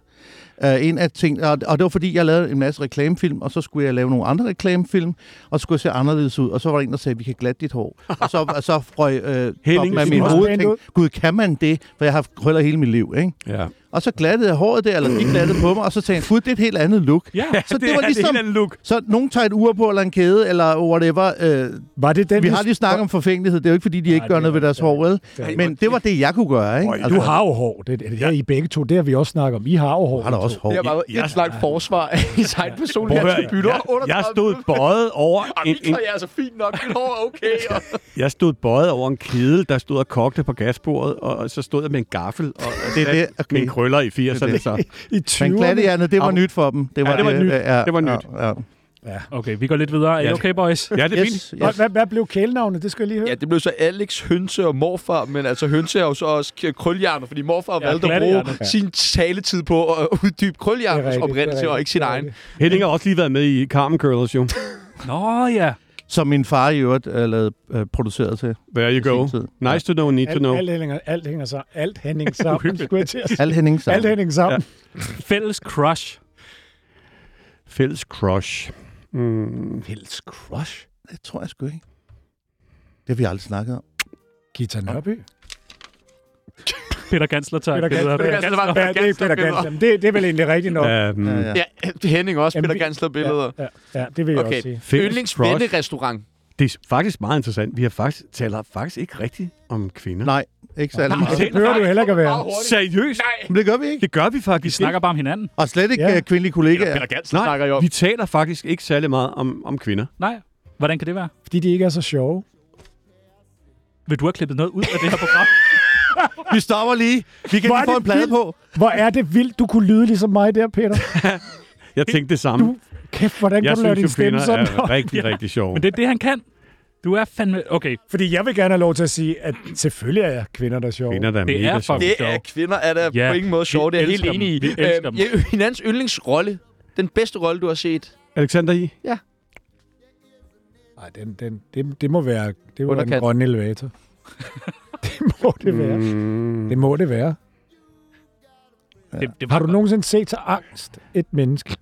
Uh, en af ting, og, og det var fordi, jeg lavede en masse reklamefilm, og så skulle jeg lave nogle andre reklamefilm, og så skulle jeg se anderledes ud, og så var der en, der sagde, vi kan glatte dit hår. Og så, og så frøg øh, Henning, Henning, af det min ser hoved også pænt tænkte, gud, kan man det? For jeg har haft krøller hele mit liv, ikke? Ja. Og så glattede jeg håret der, eller de glattede på mig, og så tænkte jeg, gud, det er et helt andet look. Ja, så det, Det var er ligesom, en anden look. så nogen tager et ur på, eller en kæde, eller whatever. Øh, Var det den, vi har lige snakket om forfængelighed. Det er jo ikke, fordi de ikke Nej, gør det noget ved var- deres hår, vel? Men det var det, jeg kunne gøre, ikke? Altså, Du har jo hår. Det, det, det er I begge to. Det har vi også snakket om. I har jo hår. har da også hår. Det har bare været et langt forsvar af i sin egen personlige attributter. jeg, jeg stod bøjet over en, en, en, jeg er så fint nok. Mit hår er okay. Og... jeg stod bøjet over en kedel, der stod og kogte på gasbordet, og, og så stod jeg med en gaffel og, og Det er det, okay. min krøller i 80'erne. Så. I Men 20'erne. glattehjernet, det var Au. nyt for dem. Det var, øh, Ja, det var nyt. ja, Det var nyt. Ja, ja. Okay, vi går lidt videre. Er I Ja. okay, boys? Ja, det er fint. Yes, yes. Hvad, hvad blev kælenavnet? Det skal jeg lige høre. Ja, det blev så Alex, Hønse og morfar, men altså Hønse er jo så også k- krølhjerner, fordi morfar ja, valgte at bruge glattehjerner. sin taletid på at uddybe Det er krølhjerners rigtigt, det oprindelse er og rigtigt, ikke sin det er egen. rigtigt. Henning har også lige været med i Carmen Curlers, jo. Nå ja. Som min far i øvrigt øh, lavede, øh, produceret til. There you go. I sin tid. Nice to know, need to Alt, know. alt, hænger, alt hænger sammen. Alt Henning sammen, skulle jeg til at sige. Al Henning sammen. Alt Henning sammen. Fælles crush. Fælles crush. Mm. Pels Crush. Det tror jeg sgu ikke. Det har vi aldrig snakket om. Gita Nørby. Peter Gansler tager Peter billeder. Gansler. Gansler var Ja, det er Peter Gansler. Men Det, det er vel egentlig rigtigt nok. Ja, Øhm, Ja, ja, ja. Ja, Henning også, Jamen, Peter vi- Gansler billeder. ja, ja, det vil jeg Okay. også sige. Yndlingsvennerestaurant. Det er faktisk meget interessant. Vi har faktisk, taler faktisk ikke rigtigt om kvinder. Nej, ikke særlig Og meget. det behøver du heller ikke at være. Seriøst? Nej. Men det gør vi ikke. Det gør vi Vi faktisk snakker bare om hinanden. Og slet ikke Ja. ja. kvindelige kollegaer. Peter Gansler snakker Nej, snakker jeg om. vi taler faktisk ikke særlig meget om, om kvinder. Nej. Hvordan kan det være? Fordi de ikke er så sjove. Vil du have klippet noget ud af det her program? Vi stopper lige. Vi kan Hvor lige er få en det plade vildt. på. Hvor er det vildt, du kunne lyde ligesom mig der, Peter. Jeg tænkte det samme. Du- Kæft, hvordan kan jeg du lave din synes, jo, stemme kvinder sådan? er rigtig, rigtig sjove. Men det er det, han kan. Du er fandme... Okay, Fordi jeg vil gerne have lov til at sige, at selvfølgelig er kvinder, der er sjove. Kvinder, der er Det er mega fucking- sjove. Det sjov. er kvinder, er der Ja, på ingen måde vi sjovt. Det er jeg helt elsker enig i. dem. Vi elsker Øhm, dem. ja, Hinandens yndlingsrolle. Den bedste rolle, du har set. Alexander I? Nej, den, den, det, det må være det må være den Underkat. grønne elevator. det må det være. Mm, Det må det være. det, det var Har du nogensinde set så angst et menneske?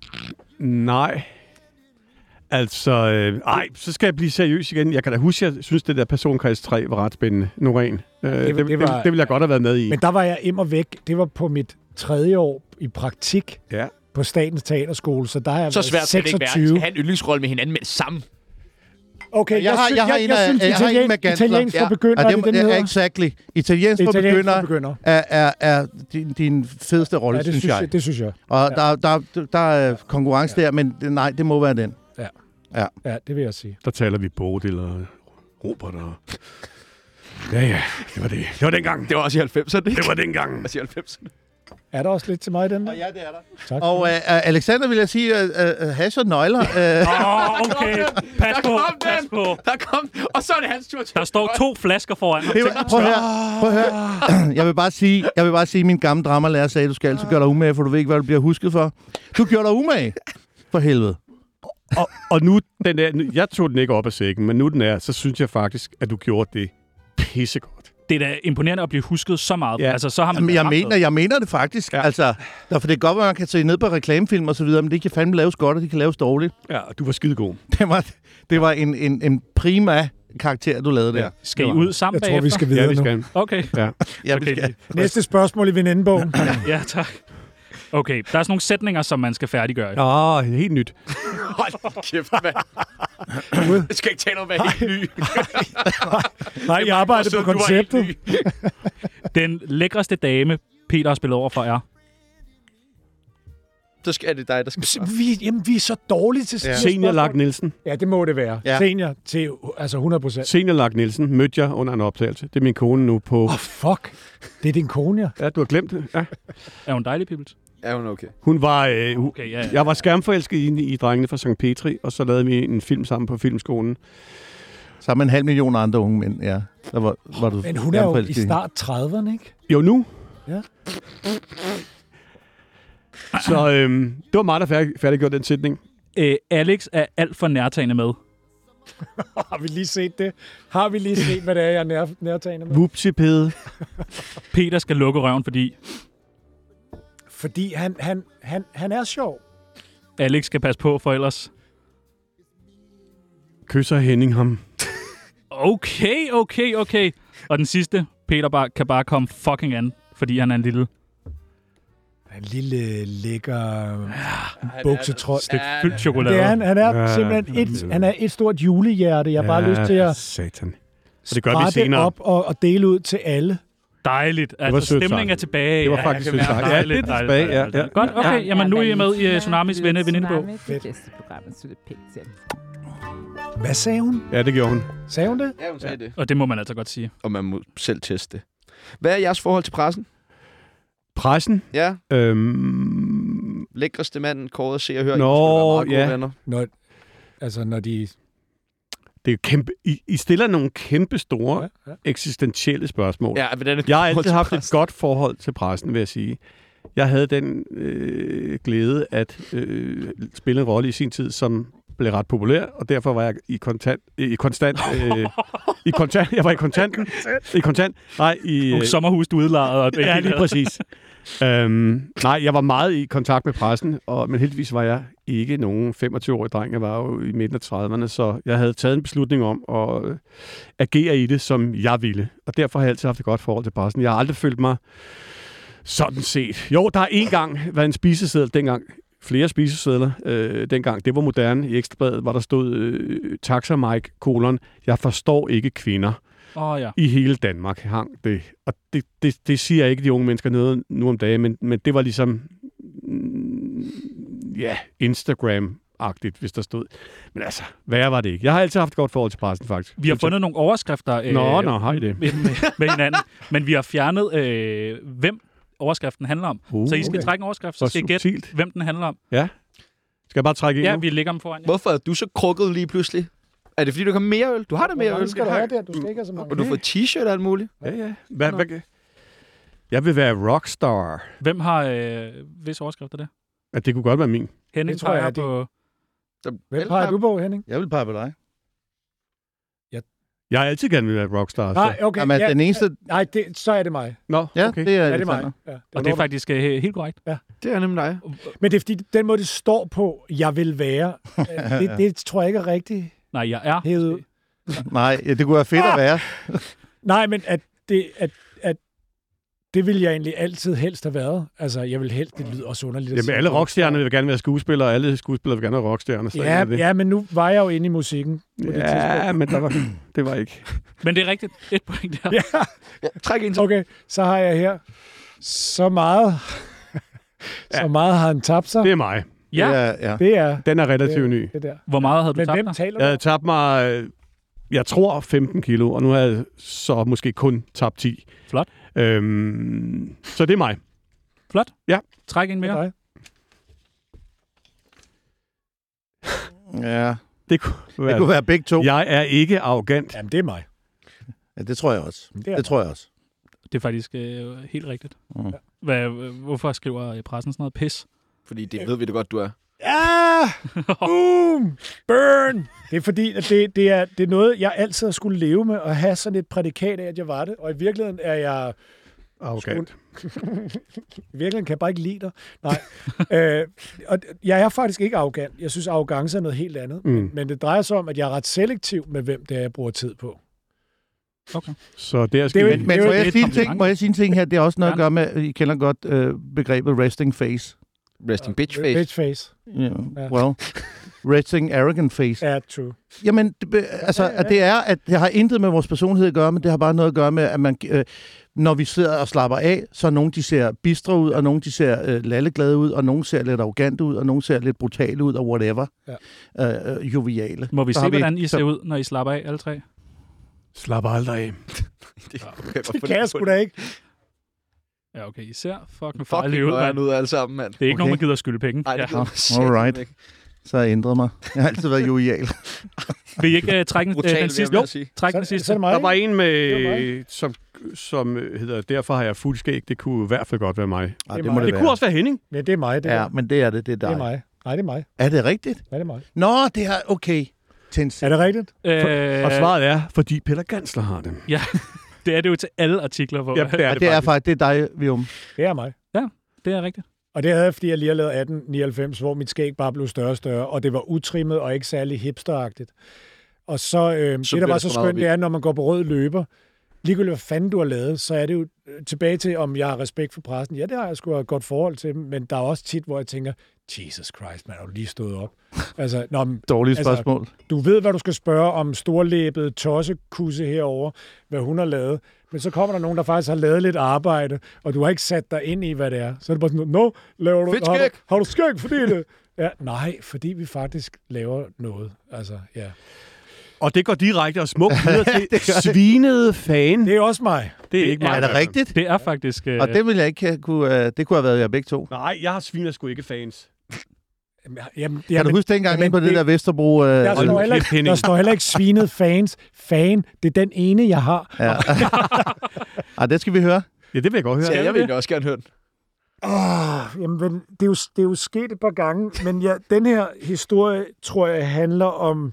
nej. Altså, øh, ej, så skal jeg blive seriøs igen. Jeg kan da huske, jeg synes, det der personkreds 3 var ret spændende. Noreen. Øh, det, det, det det, var- det, ville jeg godt have været med i. Men der var jeg im og væk. Det var på mit tredje år i praktik Ja. på Statens Teaterskole, så der har jeg Så været svært skal det ikke være. 26. Vi skal have en yndlingsrolle med hinanden med det samme. Okay, jeg, Jeg har, synes, jeg har en, af- jeg har en med Gansler. italiensk for Ja. begyndere, Ah, ja, det, den ja, hedder. Exactly. Italiensk for Italiensk for begynder begynder. er, er, er din, din fedeste rolle, Ja, det synes jeg. Det synes jeg. Og der, der, der, der er konkurrence der, men det- nej, det må være den. Ja, det vil jeg sige. Der taler vi Bodil og Robert og... Ja, ja, det var det. Det var dengang. Det var også i 90'erne, ikke? Det var dengang. Også i 90'erne. Er der også lidt til mig i den der? Ja, det er der. Tak. Og øh, øh, Alexander vil jeg sige, øh, øh, hash og nøgler. Øh, Åh, okay. Pas Der på, kom pas den! på. Der kom... Og så er det hans tur til. Der står to flasker foran mig. det var, prøv at høre, prøv at høre. Jeg vil bare sige, jeg vil bare sige min gamle dramalærer sagde, du skal altid gøre dig umage, for du ved ikke, hvad du bliver husket for. Du gjorde dig umage. For helvede. og, og nu, den er, nu- jeg tog den ikke op af sækken, men nu den er, så synes jeg faktisk, at du gjorde det pissegodt. Det er da imponerende at blive husket så meget. Ja. Altså, så har man Jamen, jeg, haft mener, noget. jeg mener det faktisk. Ja. Altså, der- for det er godt, at man kan se ned på reklamefilm og så videre, men det kan fandme laves godt, og det kan laves dårligt. Ja, og du var skidegod. Det var, det var en, en, en prima karakter, du lavede der. Skal I ud sammen Jeg tror, vi bagefter? skal Ja, videre vi nu. skal. Okay, Ja. Ja, Okay. vi skal. Næste spørgsmål i venindebogen. ja tak. Okay, der er sådan nogle sætninger, som man skal færdiggøre. Åh, oh, helt nyt. Hold kæft, mand. Jeg skal ikke tale om, hvad jeg er helt ny. Nej, jeg arbejder Så på du er helt konceptet. ny. Den lækreste dame, Peter har spillet over for, er... Så skal er det dig, der skal svare. Vi, jamen, vi er så dårlige til ja. Senior Lark Nielsen. Ja, det må det være. Ja. Ja. Senior til altså 100 procent. Senior Lark Nielsen mødte jeg under en optagelse. Det er min kone nu på... Åh, oh, fuck. Det er din kone, ja. Ja, du har glemt det. Ja. Er hun dejlig, Pibbles? Er hun okay? Hun var... Øh, hu- Okay, ja, ja. Jeg var skærmforelsket i, i drengene fra St. Petri, og så lavede vi en film sammen på Filmskolen. Sammen med en halv million andre unge mænd, ja. Der var, var du Men hun er jo i forelsket hende. start 30'erne, ikke? Jo, nu. Ja. Så øhm, det var mig, der færdig, færdiggjorde den sætning. Øh, Alex er alt for nærtagende med. Har vi lige set det? Har vi lige set, hvad det er, jeg er nær, nærtagende med? Vupsipede. Peter skal lukke røven, fordi Fordi han, han, han, han er sjov. Alex skal passe på, for ellers... Kysser Henning ham. Okay, okay, okay. Og den sidste, Peter bare, kan bare komme fucking an, fordi han er en lille... En lille, lækker buksetrøj. Fyldt chokolade. Det er han. Han er Ja. simpelthen et, han er et stort julehjerte. Jeg har bare Ja, lyst til at Satan. Og det gør vi spare det senere. op og, og dele ud til alle. Dejligt. var Altså, sødt stemningen er sagt. tilbage. Det var Ja, faktisk jeg kan sødt mærke, sagt. Ja, dejligt, lidt dejligt, tilbage, ja, dejligt, ja. dejligt. Godt, okay. Ja. Jamen, nu er I med i uh, Tsunamis venne venindebog. Tsunami, Det bedste program, man synes er pænt til. Hvad sagde hun? Ja, det gjorde hun. Sagde hun det? Ja, hun sagde det. Og det må man altså godt sige. Og man må selv teste det. Hvad er jeres forhold til pressen? Pressen. Ja, Øhm, lækreste manden, kåret, se og hør. I Nå, skulle være meget gode ja. venner. Når, altså, når de... det er jo kæmpe, I, I stiller nogle kæmpe store Ja, ja. eksistentielle spørgsmål. Ja, hvordan er Jeg har altid haft et godt forhold til pressen, vil jeg sige. Jeg havde den øh, glæde at øh, spille en rolle i sin tid, som blev ret populær, og derfor var jeg i kontant, øh, i konstant, øh, i kontant, jeg var i øh, kontanten, i kontant, nej, i, Nogle sommerhus, du udlejede. Og Ja, lige præcis. øhm, nej, jeg var meget i kontakt med pressen, og, men heldigvis var jeg ikke nogen 25-årig dreng. Jeg var jo i midten af 30'erne, så jeg havde taget en beslutning om at øh, agere i det, som jeg ville. Og derfor har jeg altid haft et godt forhold til pressen. Jeg har aldrig følt mig sådan set. Jo, der har en gang været en spiseseddel dengang. Flere spisesedler øh, dengang. Det var moderne i Ekstrabladet, hvor der stod øh, Taxa Mike, kolon, jeg forstår ikke kvinder Åh oh, ja. i hele Danmark hang det. Og det, det, det siger ikke de unge mennesker noget nu om dagen, men, men det var ligesom, mm, ja, Instagram-agtigt, hvis der stod. Men altså, værre var det ikke. Jeg har altid haft et godt forhold til pressen, faktisk. Vi har fundet nogle overskrifter øh, Nå, nå, har I det? Med, med, med hinanden, men vi har fjernet, øh, hvem overskriften handler om. Uh, Uh, så I skal okay. trække en overskrift, så Hvor skal I gætte, subtilt. hvem den handler om. Skal jeg bare trække ind Ja, nu? vi lægger dem foran jer. Hvorfor er du så krukket lige pludselig? Er det fordi, du har mere øl? Du har da mere øl. skal du have der? Du skal ikke have så mange. Og du får t-shirt og alt muligt. Ja, ja. Hvad, hvad, jeg vil være rockstar. Hvem har, øh, hvis overskrift er det? Ja, det kunne godt være min. Henning tror jeg peger er din. på... Hvem peger du på, Henning? Jeg vil pege på dig. Jeg har altid gerne vil være rockstar. Nej, Så. okay. Jamen, altså, ja, den eneste... Nej, det, så er det mig. Nå, Ja, okay. det er, Ja, det er Alexander. mig. Ja. Og det er faktisk øh, helt korrekt. Det er nemlig dig. Men det er fordi, den måde, det står på, jeg vil være, øh, det, det tror jeg ikke er rigtigt Nej, jeg er. hævet ud. Nej, ja, det kunne være fedt at Ah, være. Nej, men at det, at, at det ville jeg egentlig altid helst have været. Altså, jeg vil helst, det lyder også underligt. at Jamen, sige. alle rockstjerner vil gerne være skuespillere, og alle skuespillere vil gerne være rockstjerner. Så er Ja, det. ja, men nu var jeg jo inde i musikken på det tidspunkt. ja men der var, det var ikke. Men det er rigtigt. Et point der. Ja. Træk ind til. Okay, så har jeg her. Så meget, så meget har han tabt sig. Det er mig. Ja. ja, ja. Det er Den er relativt ny. det der. Hvor meget havde du Men tabt hvem dig? taler Jeg du havde om? tabt mig, øh, jeg tror 15 kilo, og nu har jeg så måske kun tabt 10. Flot. Øhm, så det er mig. Træk en mere. Nej. ja. Det kunne Det være. kunne være begge to. Jeg er ikke arrogant. Jamen, det er mig. Ja, det tror jeg også. er Det tror jeg også. Det er faktisk øh, helt rigtigt. Mm. Hvad, hvorfor skriver øh, pressen sådan noget pis? Fordi det ved vi det godt, du er. Ja! Boom! Burn! Det er fordi, at det, det, er, det er noget, jeg altid har skulle leve med, at have sådan et prædikat af, at jeg var det. Og i virkeligheden er jeg... Arrogant. I virkeligheden kan jeg bare ikke lide dig. Nej. øh, og jeg er faktisk ikke arrogant. Jeg synes, arrogance er noget helt andet. Mm. Men det drejer sig om, at jeg er ret selektiv med, hvem det er, jeg bruger tid på. Så der Det skal er jo vi... ikke- Men Det er må jo jeg, et sige en ting, kompliment. må jeg sige en ting her? Det er også noget at Gerne. gøre med, I kender godt øh, begrebet resting face. Resting bitch face. Bitch face. Yeah, Ja. well, resting arrogant face. Ja, true. Jamen, det, be- altså, at det er, at det har intet med vores personlighed at gøre, men det har bare noget at gøre med, at man, øh, når vi sidder og slapper af, så er nogen, de ser bistre ud, og nogen, de ser øh, lalleglade ud, og nogen ser lidt arrogante ud, og nogen ser lidt brutale ud, og whatever. Ja. Øh, øh, joviale. Må vi Så se, har vi- hvordan I så- ser ud, når I slapper af, alle tre? Slap aldrig af. Det kan jeg sgu da ikke. Ja, okay. I ser fucking Fuck, farlige ud, mand. nøjeren ud alle sammen, mand. Det er ikke okay. nogen, man Okay. gider at skylde penge. Nej, ja. det kan man All satme right. ikke. Så har jeg ændret mig. Jeg har altid været jovial. Vil I ikke uh, trække en- øh, Brutalt, den vil jeg sidste? Jo, bare sige. træk den Så, sidste. så er det mig. Der var en Det var med, som, som øh, hedder, derfor har jeg fuld skæg. Det kunne i hvert fald godt være mig. Ej, Det det, er må mig. det, Det være. kunne også være Henning. Ja, det er mig. Det, ja. Ja, men det er det. Det er dig. det er mig. Nej, det er mig. Er det rigtigt? Ja, det er mig. Nå, det er okay. Tins. Er det rigtigt? Øh, Og svaret er, fordi Peter Gansler har det. Det er det jo til alle artikler, hvor Ja, det er Ja, det, det er faktisk. faktisk, det er dig, Vium. Det er mig. det er rigtigt. Og det havde jeg, fordi jeg lige har lavet 1899, hvor mit skæg bare blev større og større, og det var utrimmet og ikke særlig hipsteragtigt. Og så, øh, Så så det, bliver der var det så for meget skønt, det er, når man går på rød løber, ligegyldigt hvad fanden du har lavet, så er det jo øh, tilbage til, om jeg har respekt for pressen. Ja, det har jeg sgu et godt forhold til, dem, men der er også tit, hvor jeg tænker, Jesus Christ, man har jo lige stået op. Altså, nå, men Dårligt Altså, spørgsmål. du ved, hvad du skal spørge om storlæbet tossekusse herover, hvad hun har lavet. Men så kommer der nogen, der faktisk har lavet lidt arbejde, og du har ikke sat dig ind i, hvad det er. Så er det bare sådan, noget, nå, laver du, Fedt har, du, skæg." har du skæg, fordi det... Ja, nej, fordi vi faktisk laver noget. Altså, ja. Og det går direkte og smukt videre til svinede fan. Det er også mig. Det er ikke mig. er det i hvert fald. rigtigt? Det er faktisk... Øh, Og det ville jeg ikke have kunne... Øh, det kunne have været jer begge to. Nej, jeg har sviner sgu ikke fans. Jamen, jamen, Kan du huske dengang inde på det, der Vesterbro... Øh, der Ol- står, heller, kæft, ikke, Henning. der står heller ikke svinet fans. Fan, det er den ene, jeg har. ja. Ej, det skal vi høre. Ja, det vil jeg godt høre. Ja, jeg vil egentlig også gerne høre den. Åh, Ah, jamen, men det, er jo, det er jo sket et par gange, men ja, den her historie, tror jeg, handler om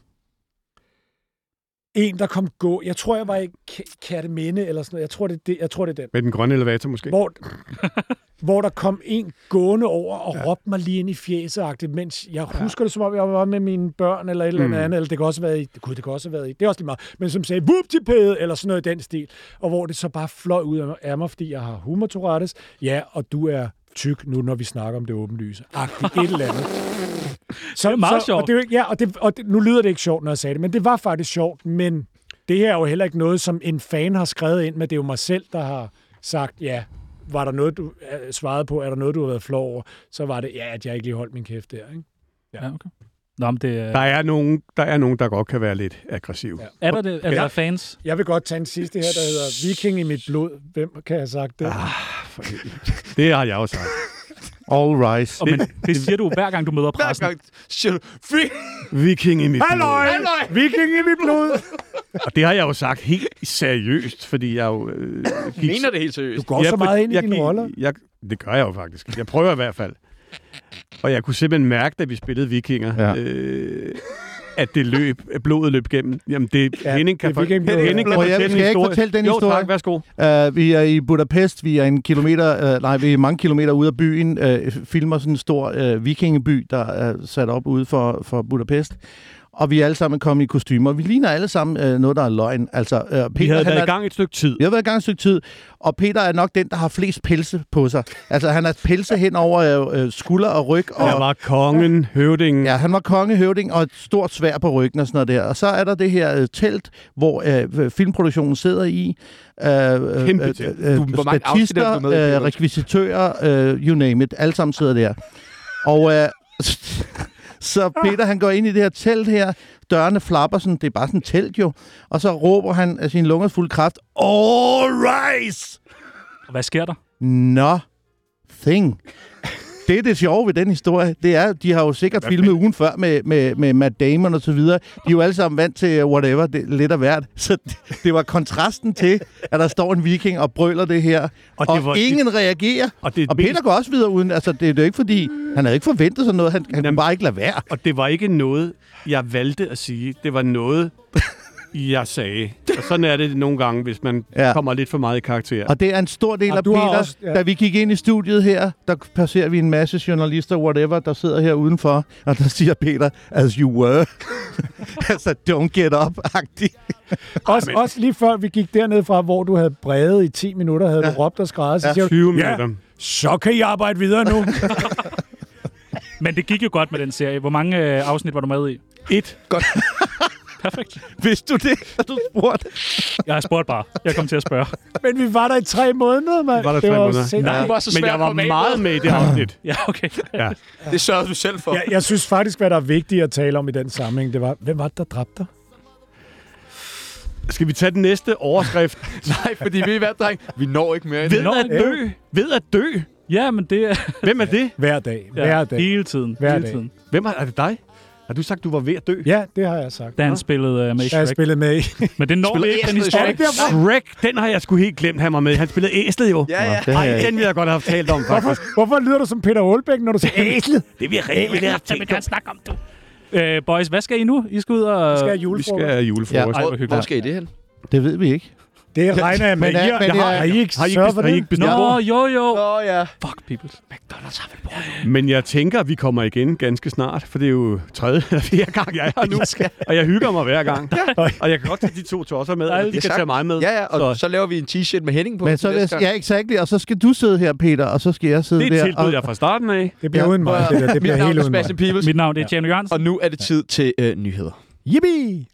en, der kom gå. Jeg tror, jeg var i Kærteminde eller sådan noget. Jeg tror, det, er det, jeg tror, det er den. Med den grønne elevator måske. Hvor... hvor der kom en gående over og ja. råbte mig lige ind i fjeset mens jeg husker det, som om jeg var med mine børn eller et eller andet, Mm. andet, eller det kan også have været i, gud, det kan også have været i, det er også lige meget, men som sagde, whoop til pæde, eller sådan noget i den stil, og hvor det så bare fløj ud af mig- af mig, fordi jeg har humor Tourettes. Ja, og du er tyk nu, når vi snakker om det åbenlyse. Agtigt et eller andet. Så, Det er meget så, sjovt. Og det, er jo ikke- ja, og, det, og det, nu lyder det ikke sjovt, når jeg sagde det, men det var faktisk sjovt, men det her er jo heller ikke noget, som en fan har skrevet ind, men det er jo mig selv, der har sagt, ja, var der noget, du øh, svarede på, er der noget, du har været flov over, så var det, ja, at jeg ikke lige holdt min kæft der, ikke? Ja, okay. Nå, men det, er, Der er, nogen, der er nogen, der godt kan være lidt aggressiv. Ja. er der, det, er der Ja. fans? Jeg vil godt tage en sidste her, der hedder Viking i mit blod. Hvem kan jeg have sagt det? Ah, Det har jeg også sagt. All rise. Og, men, det siger du hver gang, du møder Hver pressen. gang siger du, free, Viking i mit blod. halløj! Viking i mit blod! Og det har jeg jo sagt helt seriøst, fordi jeg jo... Øh, gik, Mener det helt seriøst? Du går så for- meget ind i jeg dine gik- roller. Jeg, det gør jeg jo faktisk. Jeg prøver i hvert fald. Og jeg kunne simpelthen mærke, da vi spillede Vikinger, Ja. ja. øh, at det løb, at blodet løb gennem. Jamen, det, Ja, ja, Henning kan, det er for, vikingblod, Henning ja. kan Må jeg- fortælle en skal jeg ikke historie. fortælle den jo, historie? tak, værsgo. Uh, vi er i Budapest, vi er en kilometer, uh, nej, vi er mange kilometer ude af byen, uh, filmer sådan en stor uh, vikingeby, der er sat op ude for, for Budapest. Og vi er alle sammen kommet i kostymer. Vi ligner alle sammen øh, noget, der er løgn. Altså, øh, Peter, Vi havde han været i er, gang et stykke tid. Vi har været i gang et stykke tid, og Peter er nok den, der har flest pelse på sig. Altså, han har pelse hen over øh, øh, skulder og ryg. Og, Jeg var kongen, høvdingen. Ja, han var kongehøvding og et stort svær på ryggen og sådan noget der. Og så er der det her øh, telt, hvor øh, filmproduktionen sidder i. Øh, øh, Kæmpe telt. Du- hvor mange afsnit er statister, du med i, øh, Peter? rekvisitører, øh, you name it. Alle sammen sidder der. Og øh, så Peter, han går ind i det her telt her. Dørene flapper sådan. Det er bare sådan et telt jo. Og så råber han af sin lungers fuld kraft, All rise! Og Hvad sker der? nothing. Det er det sjove ved den historie, det er, de har jo sikkert filmet ugen før med, med, med Matt Damon og så videre. De er jo alle sammen vant til whatever, det, er lidt af hvert. Så det, det var kontrasten til, at der står en viking og brøler det her, og, det det var- og ingen det, reagerer. Og det, Og Peter går også videre uden, altså det, det er jo ikke fordi, han havde ikke forventet sådan noget, han, han kunne Jamen- bare ikke lade være. og det var ikke noget, jeg valgte at sige. Det var noget, jeg sagde. Og sådan er det nogle gange, hvis man Ja. ja. kommer lidt for meget i karakter. Og det er en stor del Og af du har Peter. Også, også- ja. ja. Da vi gik ind i studiet her, der passerer vi en masse journalister, whatever, der sidder her udenfor, og der siger Peter, as you were. altså, don't get up-agtigt. Ah, Også, også lige før vi gik dernede fra, hvor du havde brevet i 10 minutter, havde ja. du råbt og skrevet, så ja. siger du, 20 Ja. minutter. så kan I arbejde videre nu. Men det gik jo godt med den serie. Hvor mange øh, afsnit var du med i? Et. Perfekt. Vidste du det, da du spurgte? Jeg har spurgt bare. Jeg kom til at spørge. Men vi var der i tre måneder, mand. Vi var der i det tre jo måneder. sindssygt. Det var så Men svært jeg at var komme af meget med. med i det afsnit. Ja, okay. Ja. Det sørger du selv for. Jeg, jeg synes faktisk, hvad der er vigtigt at tale om i den sammenhæng, det var, hvem var det, der dræbte dig? Skal vi tage den næste overskrift? Nej, fordi vi er dreng. Vi når ikke mere end Ved det. Nå, at dø. Ved at dø. Ja, men det er... Hvem er det? Hver dag, Ja, ja. hver dag. Hele tiden. Hver hele dag. tiden. Hvem er, er det dig? Har du sagt, du var ved at dø? Ja, det har jeg sagt. Da han spillede øh, med i Jeg har Shrek. spillet med i. Men det når vi Spillede ikke, den Æslet i historie. Shrek. Shrek, den har jeg sgu helt glemt, han var med. Han spillede æslet jo. Ja, ja. det har Nej, jeg ikke. den ville jeg godt have talt om, faktisk. Hvorfor lyder du som Peter Aalbæk, når du siger æslet? Det vil jeg rigtig Det gerne vil tænke gerne snakke om, du. Øh, boys, hvad skal I nu? I skal ud og... Skal jeg Vi julefrokost? skal have julefrokost. Ja. Ja. Hvor, hvor skal I det hen? Det ved vi ikke. Det regner jeg med. Men, I, øh, har, men jeg det har, er- har I ikke Har I sørget ikke, for har I det? ikke bestemt Nå, hvor? jo, jo. Åh, oh, ja. Fuck, people. McDonald's har vel bordet. Men jeg tænker, at vi kommer igen ganske snart, for det er jo tredje eller fjerde gang, jeg er her nu. Og jeg hygger mig hver gang. Og jeg kan godt tage de to tosser med, og de kan sagt. tage mig med. Ja, ja, og så, så så laver vi en t-shirt med Henning på. Men så til vil næste jeg, gang. ja, exakt. Og så skal du sidde her, Peter, og så skal jeg sidde det er der. et tilbud, og, jeg fra starten af. Det bliver uden mig, det der. Det Mit bliver navn helt er uden mig. Sebastian Peebles, Mit navn det er Tjerno Jørgensen. og nu er det tid til øh, nyheder. Yippie!